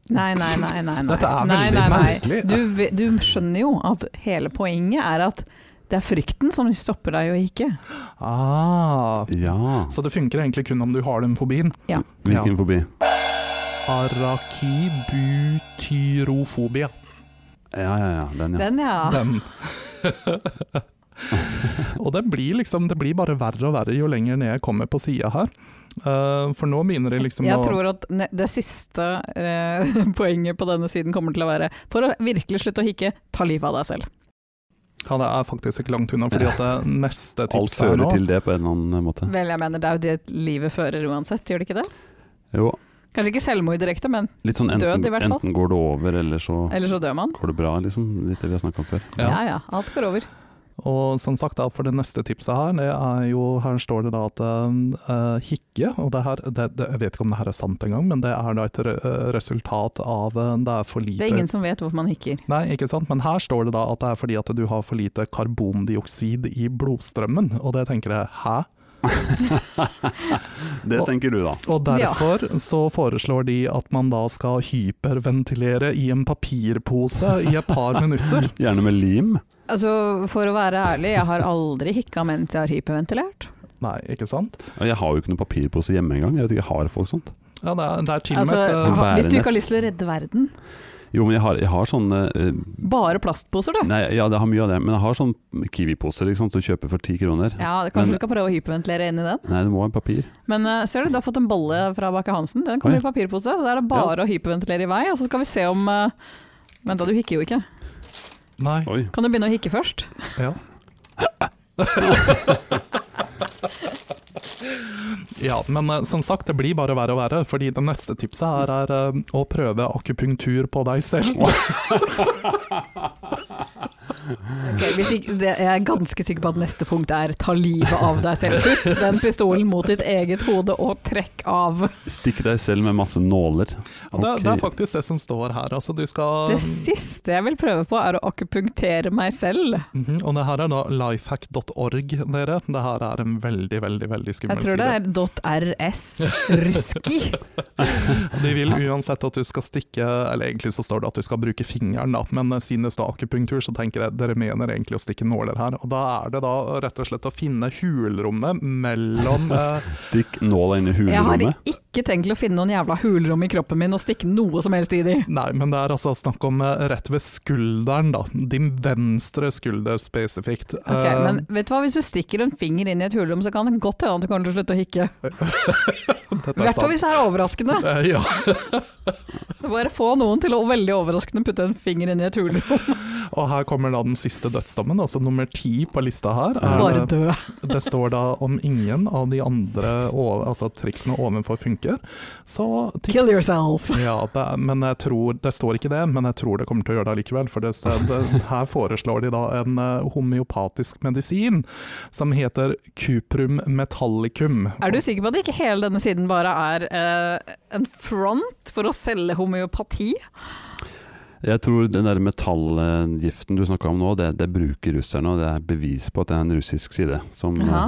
Nei, nei, nei. nei, nei. Dette er nei, veldig nei, nei. merkelig. Du, ve- du skjønner jo at hele poenget er at det er frykten som stopper deg å ikke. Ah, Ja, så det funker egentlig kun om du har den fobien. hvilken fobi? Arakibutyrofobia. Ja, ja, ja, den, ja. Den, ja. Den. og det blir liksom Det blir bare verre og verre jo lenger ned jeg kommer på sida her. Eh, for nå begynner det liksom Jeg å tror at ne- det siste eh, poenget på denne siden kommer til å være For å virkelig slutte å hikke, ta livet av deg selv. Ja, det er faktisk ikke langt unna, fordi at det neste Alt tipset her fører nå til det på en eller annen måte. Vel, jeg mener det er jo det livet fører uansett, gjør det ikke det? Jo, Kanskje ikke selvmord direkte, men litt sånn enten, Død, i hvert fall. enten går det over, eller så ellers så dør man. går det bra, liksom. Litt det vi har snakka om før. Ja. Ja. ja alt går over. Og som sagt, da, for det neste tipset her, det er jo, her står det da at eh, hikke Og det her, det, det, jeg vet ikke om det her er sant engang, men det er da et re- eh, resultat av eh, Det er for lite Det er ingen som vet hvorfor man hikker. Nei, ikke sant, men her står det da at det er fordi at du har for lite karbondioksid i blodstrømmen, og det tenker jeg hæ? Det tenker du, da. Og Ja. derfor så foreslår de at man da skal hyperventilere i en papirpose i et par minutter. Gjerne med lim. Altså, For å være ærlig, jeg har aldri hikka mens jeg har hyperventilert. Nei, ikke sant? Og Jeg har jo ikke noe papirpose hjemme engang. Jeg vet ikke, har folk sånt? Ja, det er, det er til og Altså, med et, eh, ha- hvis du ikke har lyst til å redde verden. Jo, men jeg har, jeg har sånne eh, Bare plastposer, du. Nei, ja, det har mye av det, men jeg har sånn Kiwi-poser ikke sant, som du kjøper for ti kroner. Ja, Kanskje Men- du skal prøve å hyperventilere inn i den. Nei, det må være papir. Men eh, ser du, du har fått en bolle fra Bakke Hansen. Den kommer Oi. i papirpose, så da er det bare å hyperventilere i vei. Og så skal vi se om eh, Vent da, du hikker jo ikke. Nei. Oi. Kan du begynne å hikke først? Ja. ja, men eh, som sagt, det blir bare verre og verre, fordi det neste tipset her er eh, å prøve akupunktur på deg selv. Ok, hvis ikke, det, jeg er ganske sikker på at neste punkt er ta livet av deg selv. Putt den pistolen mot ditt eget hode og trekk av. Stikk deg selv med masse nåler. Og Det, det er Ok. faktisk det som står her. Altså, du skal Det siste jeg vil prøve på er å akupunktere meg selv. Mhm, Og det her er da lifehack.org, dere. Det her er en veldig, veldig veldig Jeg skummel tror det side. er .rs. Ruski. De vil uansett at du skal stikke Eller egentlig så står det at du skal bruke fingeren, da, men eh, siden det står akupunktur, så tenker jeg dere mener egentlig å stikke nåler her. Og da er det da rett og slett å finne hulrommet mellom eh, Stikk nåla inn i Jeg har hulrommet. ikke tenkt til å finne noen jævla hulrom i kroppen min og stikke noe som helst i de. Nei, men det er altså snakk om eh, rett ved skulderen, da. Din venstre skulder spesifikt. Ok, Eh, men vet du hva, hvis du stikker en finger inn i et hulrom, så kan det godt hende at du kommer til å slutte å hikke. dette I hvert er fall sant. hvis det er overraskende. Eh, Ja, Så bare få noen til å veldig overraskende putte en finger inn i et hulrom. og her kommer da den siste dødsdommen, altså nummer ti på lista her. er- Bare dø. Det står da om ingen av de andre o- altså triksene ovenfor funker, så tips Kill yourself. Ja, det, er- men jeg tror, det står ikke det, men jeg tror det kommer til å gjøre det likevel. For det, det, her foreslår de da en eh, homeopatisk medisin som heter cuprum metallicum. Er du sikker på at ikke hele denne siden bare er eh, en front for å selge homeopati? Jeg tror den der metallgiften du snakka om nå, det, det bruker russerne, og det er bevis på at det er en russisk side som Jaha.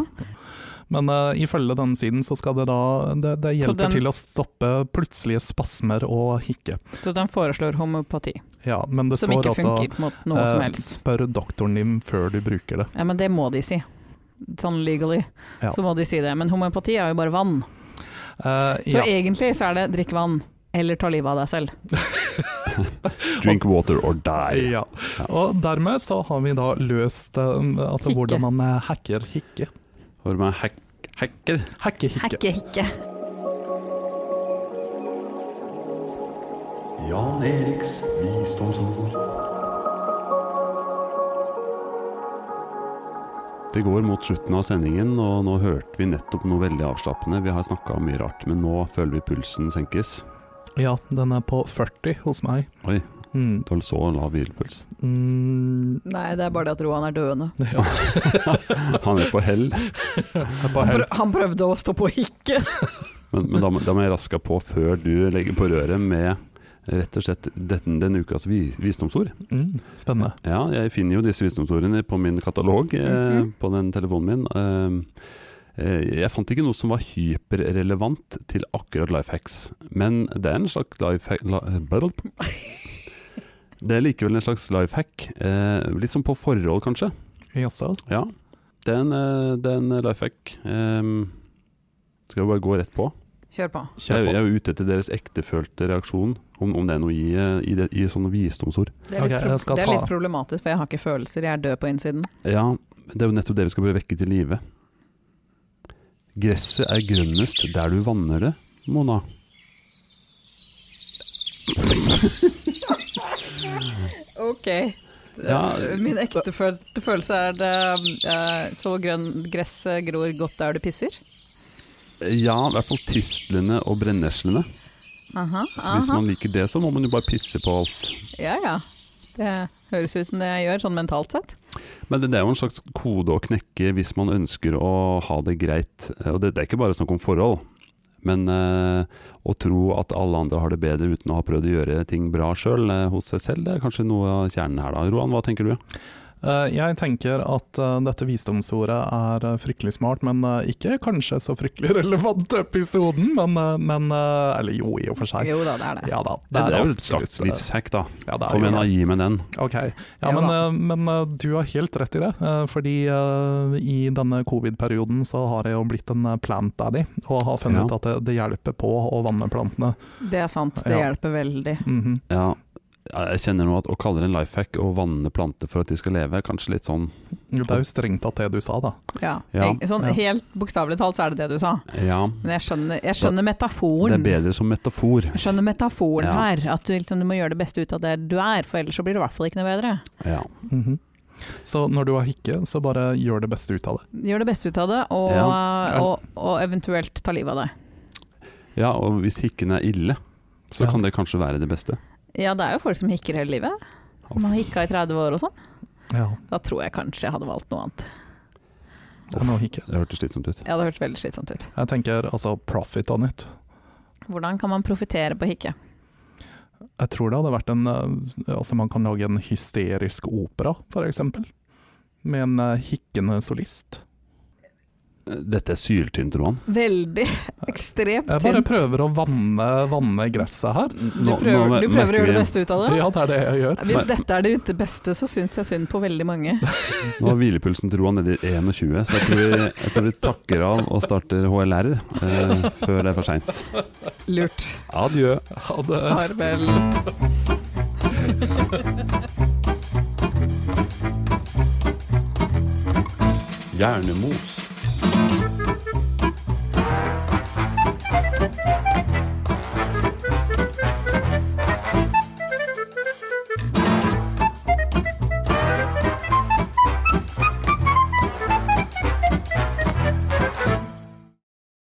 Men eh, ifølge denne siden så skal det da Det, det Så hjelper den- til å stoppe plutselige spasmer og hikke. Så den foreslår homeopati, Ja, men det som står ikke altså funker mot noe eh, som helst. Spør doktoren din før du bruker det. Ja, men det må de si. Sånn legally Ja. så må de si det. Men homeopati er jo bare vann. Eh, Så ja. egentlig så er det drikk vann, eller ta livet av deg selv. eh, Drink water or die. Ja. Og dermed så har vi da løst eh, altså Hikke. hvordan man eh, hacker hikke. Hører du meg hack, hacker? Hacke hikke. Hekke, hekke. Jan Eriks visdomsord. Det går mot slutten av sendingen, og nå hørte vi nettopp noe veldig avslappende. Vi har snakka om mye rart, men nå føler vi pulsen senkes. Ja, den er på 40 hos meg. Oi, Mm. du har så lav hvilepuls. Mm. Nei, det er bare det at Roan er døende. Ja, Han er på hell, det er bare helt Han prøvde å stå på å hikke. men, men da, må- da må jeg raske på før du legger på røret med rett og slett dette, denne ukas vi, visdomsord. mm. Spennende. Ja, jeg finner jo disse visdomsordene på min katalog eh, Mhm. på den telefonen min. Ehm, eh, jeg fant ikke noe som var hyperrelevant til akkurat life hacks, men det er en slags life hack la, blablabla. Det er likevel en slags life hack. Eh, litt som på forhold, kanskje. Jaså. Ja, det er en, eh, det er en life hack. Ehm, skal vi bare gå rett på? Kjør på. Kjør Jeg, jeg på. er jo ute etter deres ektefølte reaksjon, om, om det er noe i, eh, i, det, i sånne visdomsord. Det er, litt, Ok, pro jeg skal det er ta- litt problematisk, for jeg har ikke følelser, jeg er død på innsiden. Ja, det er jo nettopp det vi skal prøve å vekke til live. Gresset er grønnest der du vanner det, Mona. Ok. Ja. Min ekte føl- følelse er det eh, så grønn gresset gror godt der du pisser. Ja, i hvert fall tistlene og brenneslene. Aha, Så hvis aha. man liker det, så må man jo bare pisse på alt. Ja ja. Det høres ut som det jeg gjør, sånn mentalt sett. Men det, det er jo en slags kode å knekke hvis man ønsker å ha det greit. Og det, det er ikke bare snakk om forhold. Men eh, å tro at alle andre har det bedre uten å ha prøvd å gjøre ting bra sjøl eh, hos seg selv, det er kanskje noe av kjernen her da. Roan, hva tenker du? Eh, Jeg tenker at eh, dette visdomsordet er eh, fryktelig smart, men eh, ikke kanskje så fryktelig relevant til episoden, men, eh, men eh, Eller jo, i og for seg. Jo da, det er det. Ja da. Det, det er jo absolutt, et slags eh, livshack, da. Ja, det er Kom jo igjen, da, det. gi meg den. Ok, ja, Jo men, da. eh, men eh, du har helt rett i det. eh, Fordi eh, i denne covid-perioden så har jeg jo blitt en eh, plant daddy, og har funnet Ja. ut at det, det hjelper på å vanne plantene. Det er sant, det Ja. hjelper veldig. Mhm. Ja, jeg kjenner nå at å kalle det en life hack og vanne planter for at de skal leve, er kanskje litt sånn Det er jo strengt tatt det du sa, da. Ja. Ja. Jeg, sånn Ja. helt bokstavelig talt så er det det du sa. Ja, Men jeg skjønner, jeg Da- skjønner det metaforen. er bedre som metafor. Jeg skjønner metaforen Ja. her, at du, liksom, du må gjøre det beste ut av det du er, for ellers så blir det i hvert fall ikke noe bedre. Ja. Mhm. Så når du har hikke, så bare gjør det beste ut av det. Gjør det beste ut av det, og, eh, Ja. og, og eventuelt ta livet av deg. ja, og hvis hikken er ille, så Ja. kan det kanskje være det beste. Ja, det er jo folk som hikker hele livet. Uff. Man har hikka i 30 år og sånn. Ja, Da tror jeg kanskje jeg hadde valgt noe annet. det er noe hikke. Det hørtes slitsomt ut. Ja, det hørtes veldig slitsomt ut. Jeg tenker altså profit on it. Hvordan kan man profitere på hikke? Jeg tror det hadde vært en eh, Altså, man kan lage en hysterisk opera, for eksempel. Med en eh, hikkende solist. Dette er syltynt, Roan. Veldig. Ekstremt Jeg bare tynt. prøver å vanne, vanne gresset her. Du prøver, du prøver å gjøre det beste ut av det. Ja, det er det jeg gjør. Hvis dette er det ute beste, så syns jeg synd på veldig mange. Nå har hvilepulsen til Roan nede i 21, så jeg tror, vi, jeg tror vi takker av og starter HLR eh, før det er for seint. Lurt. Adjø. Ha det. Farvel. Hjernemos.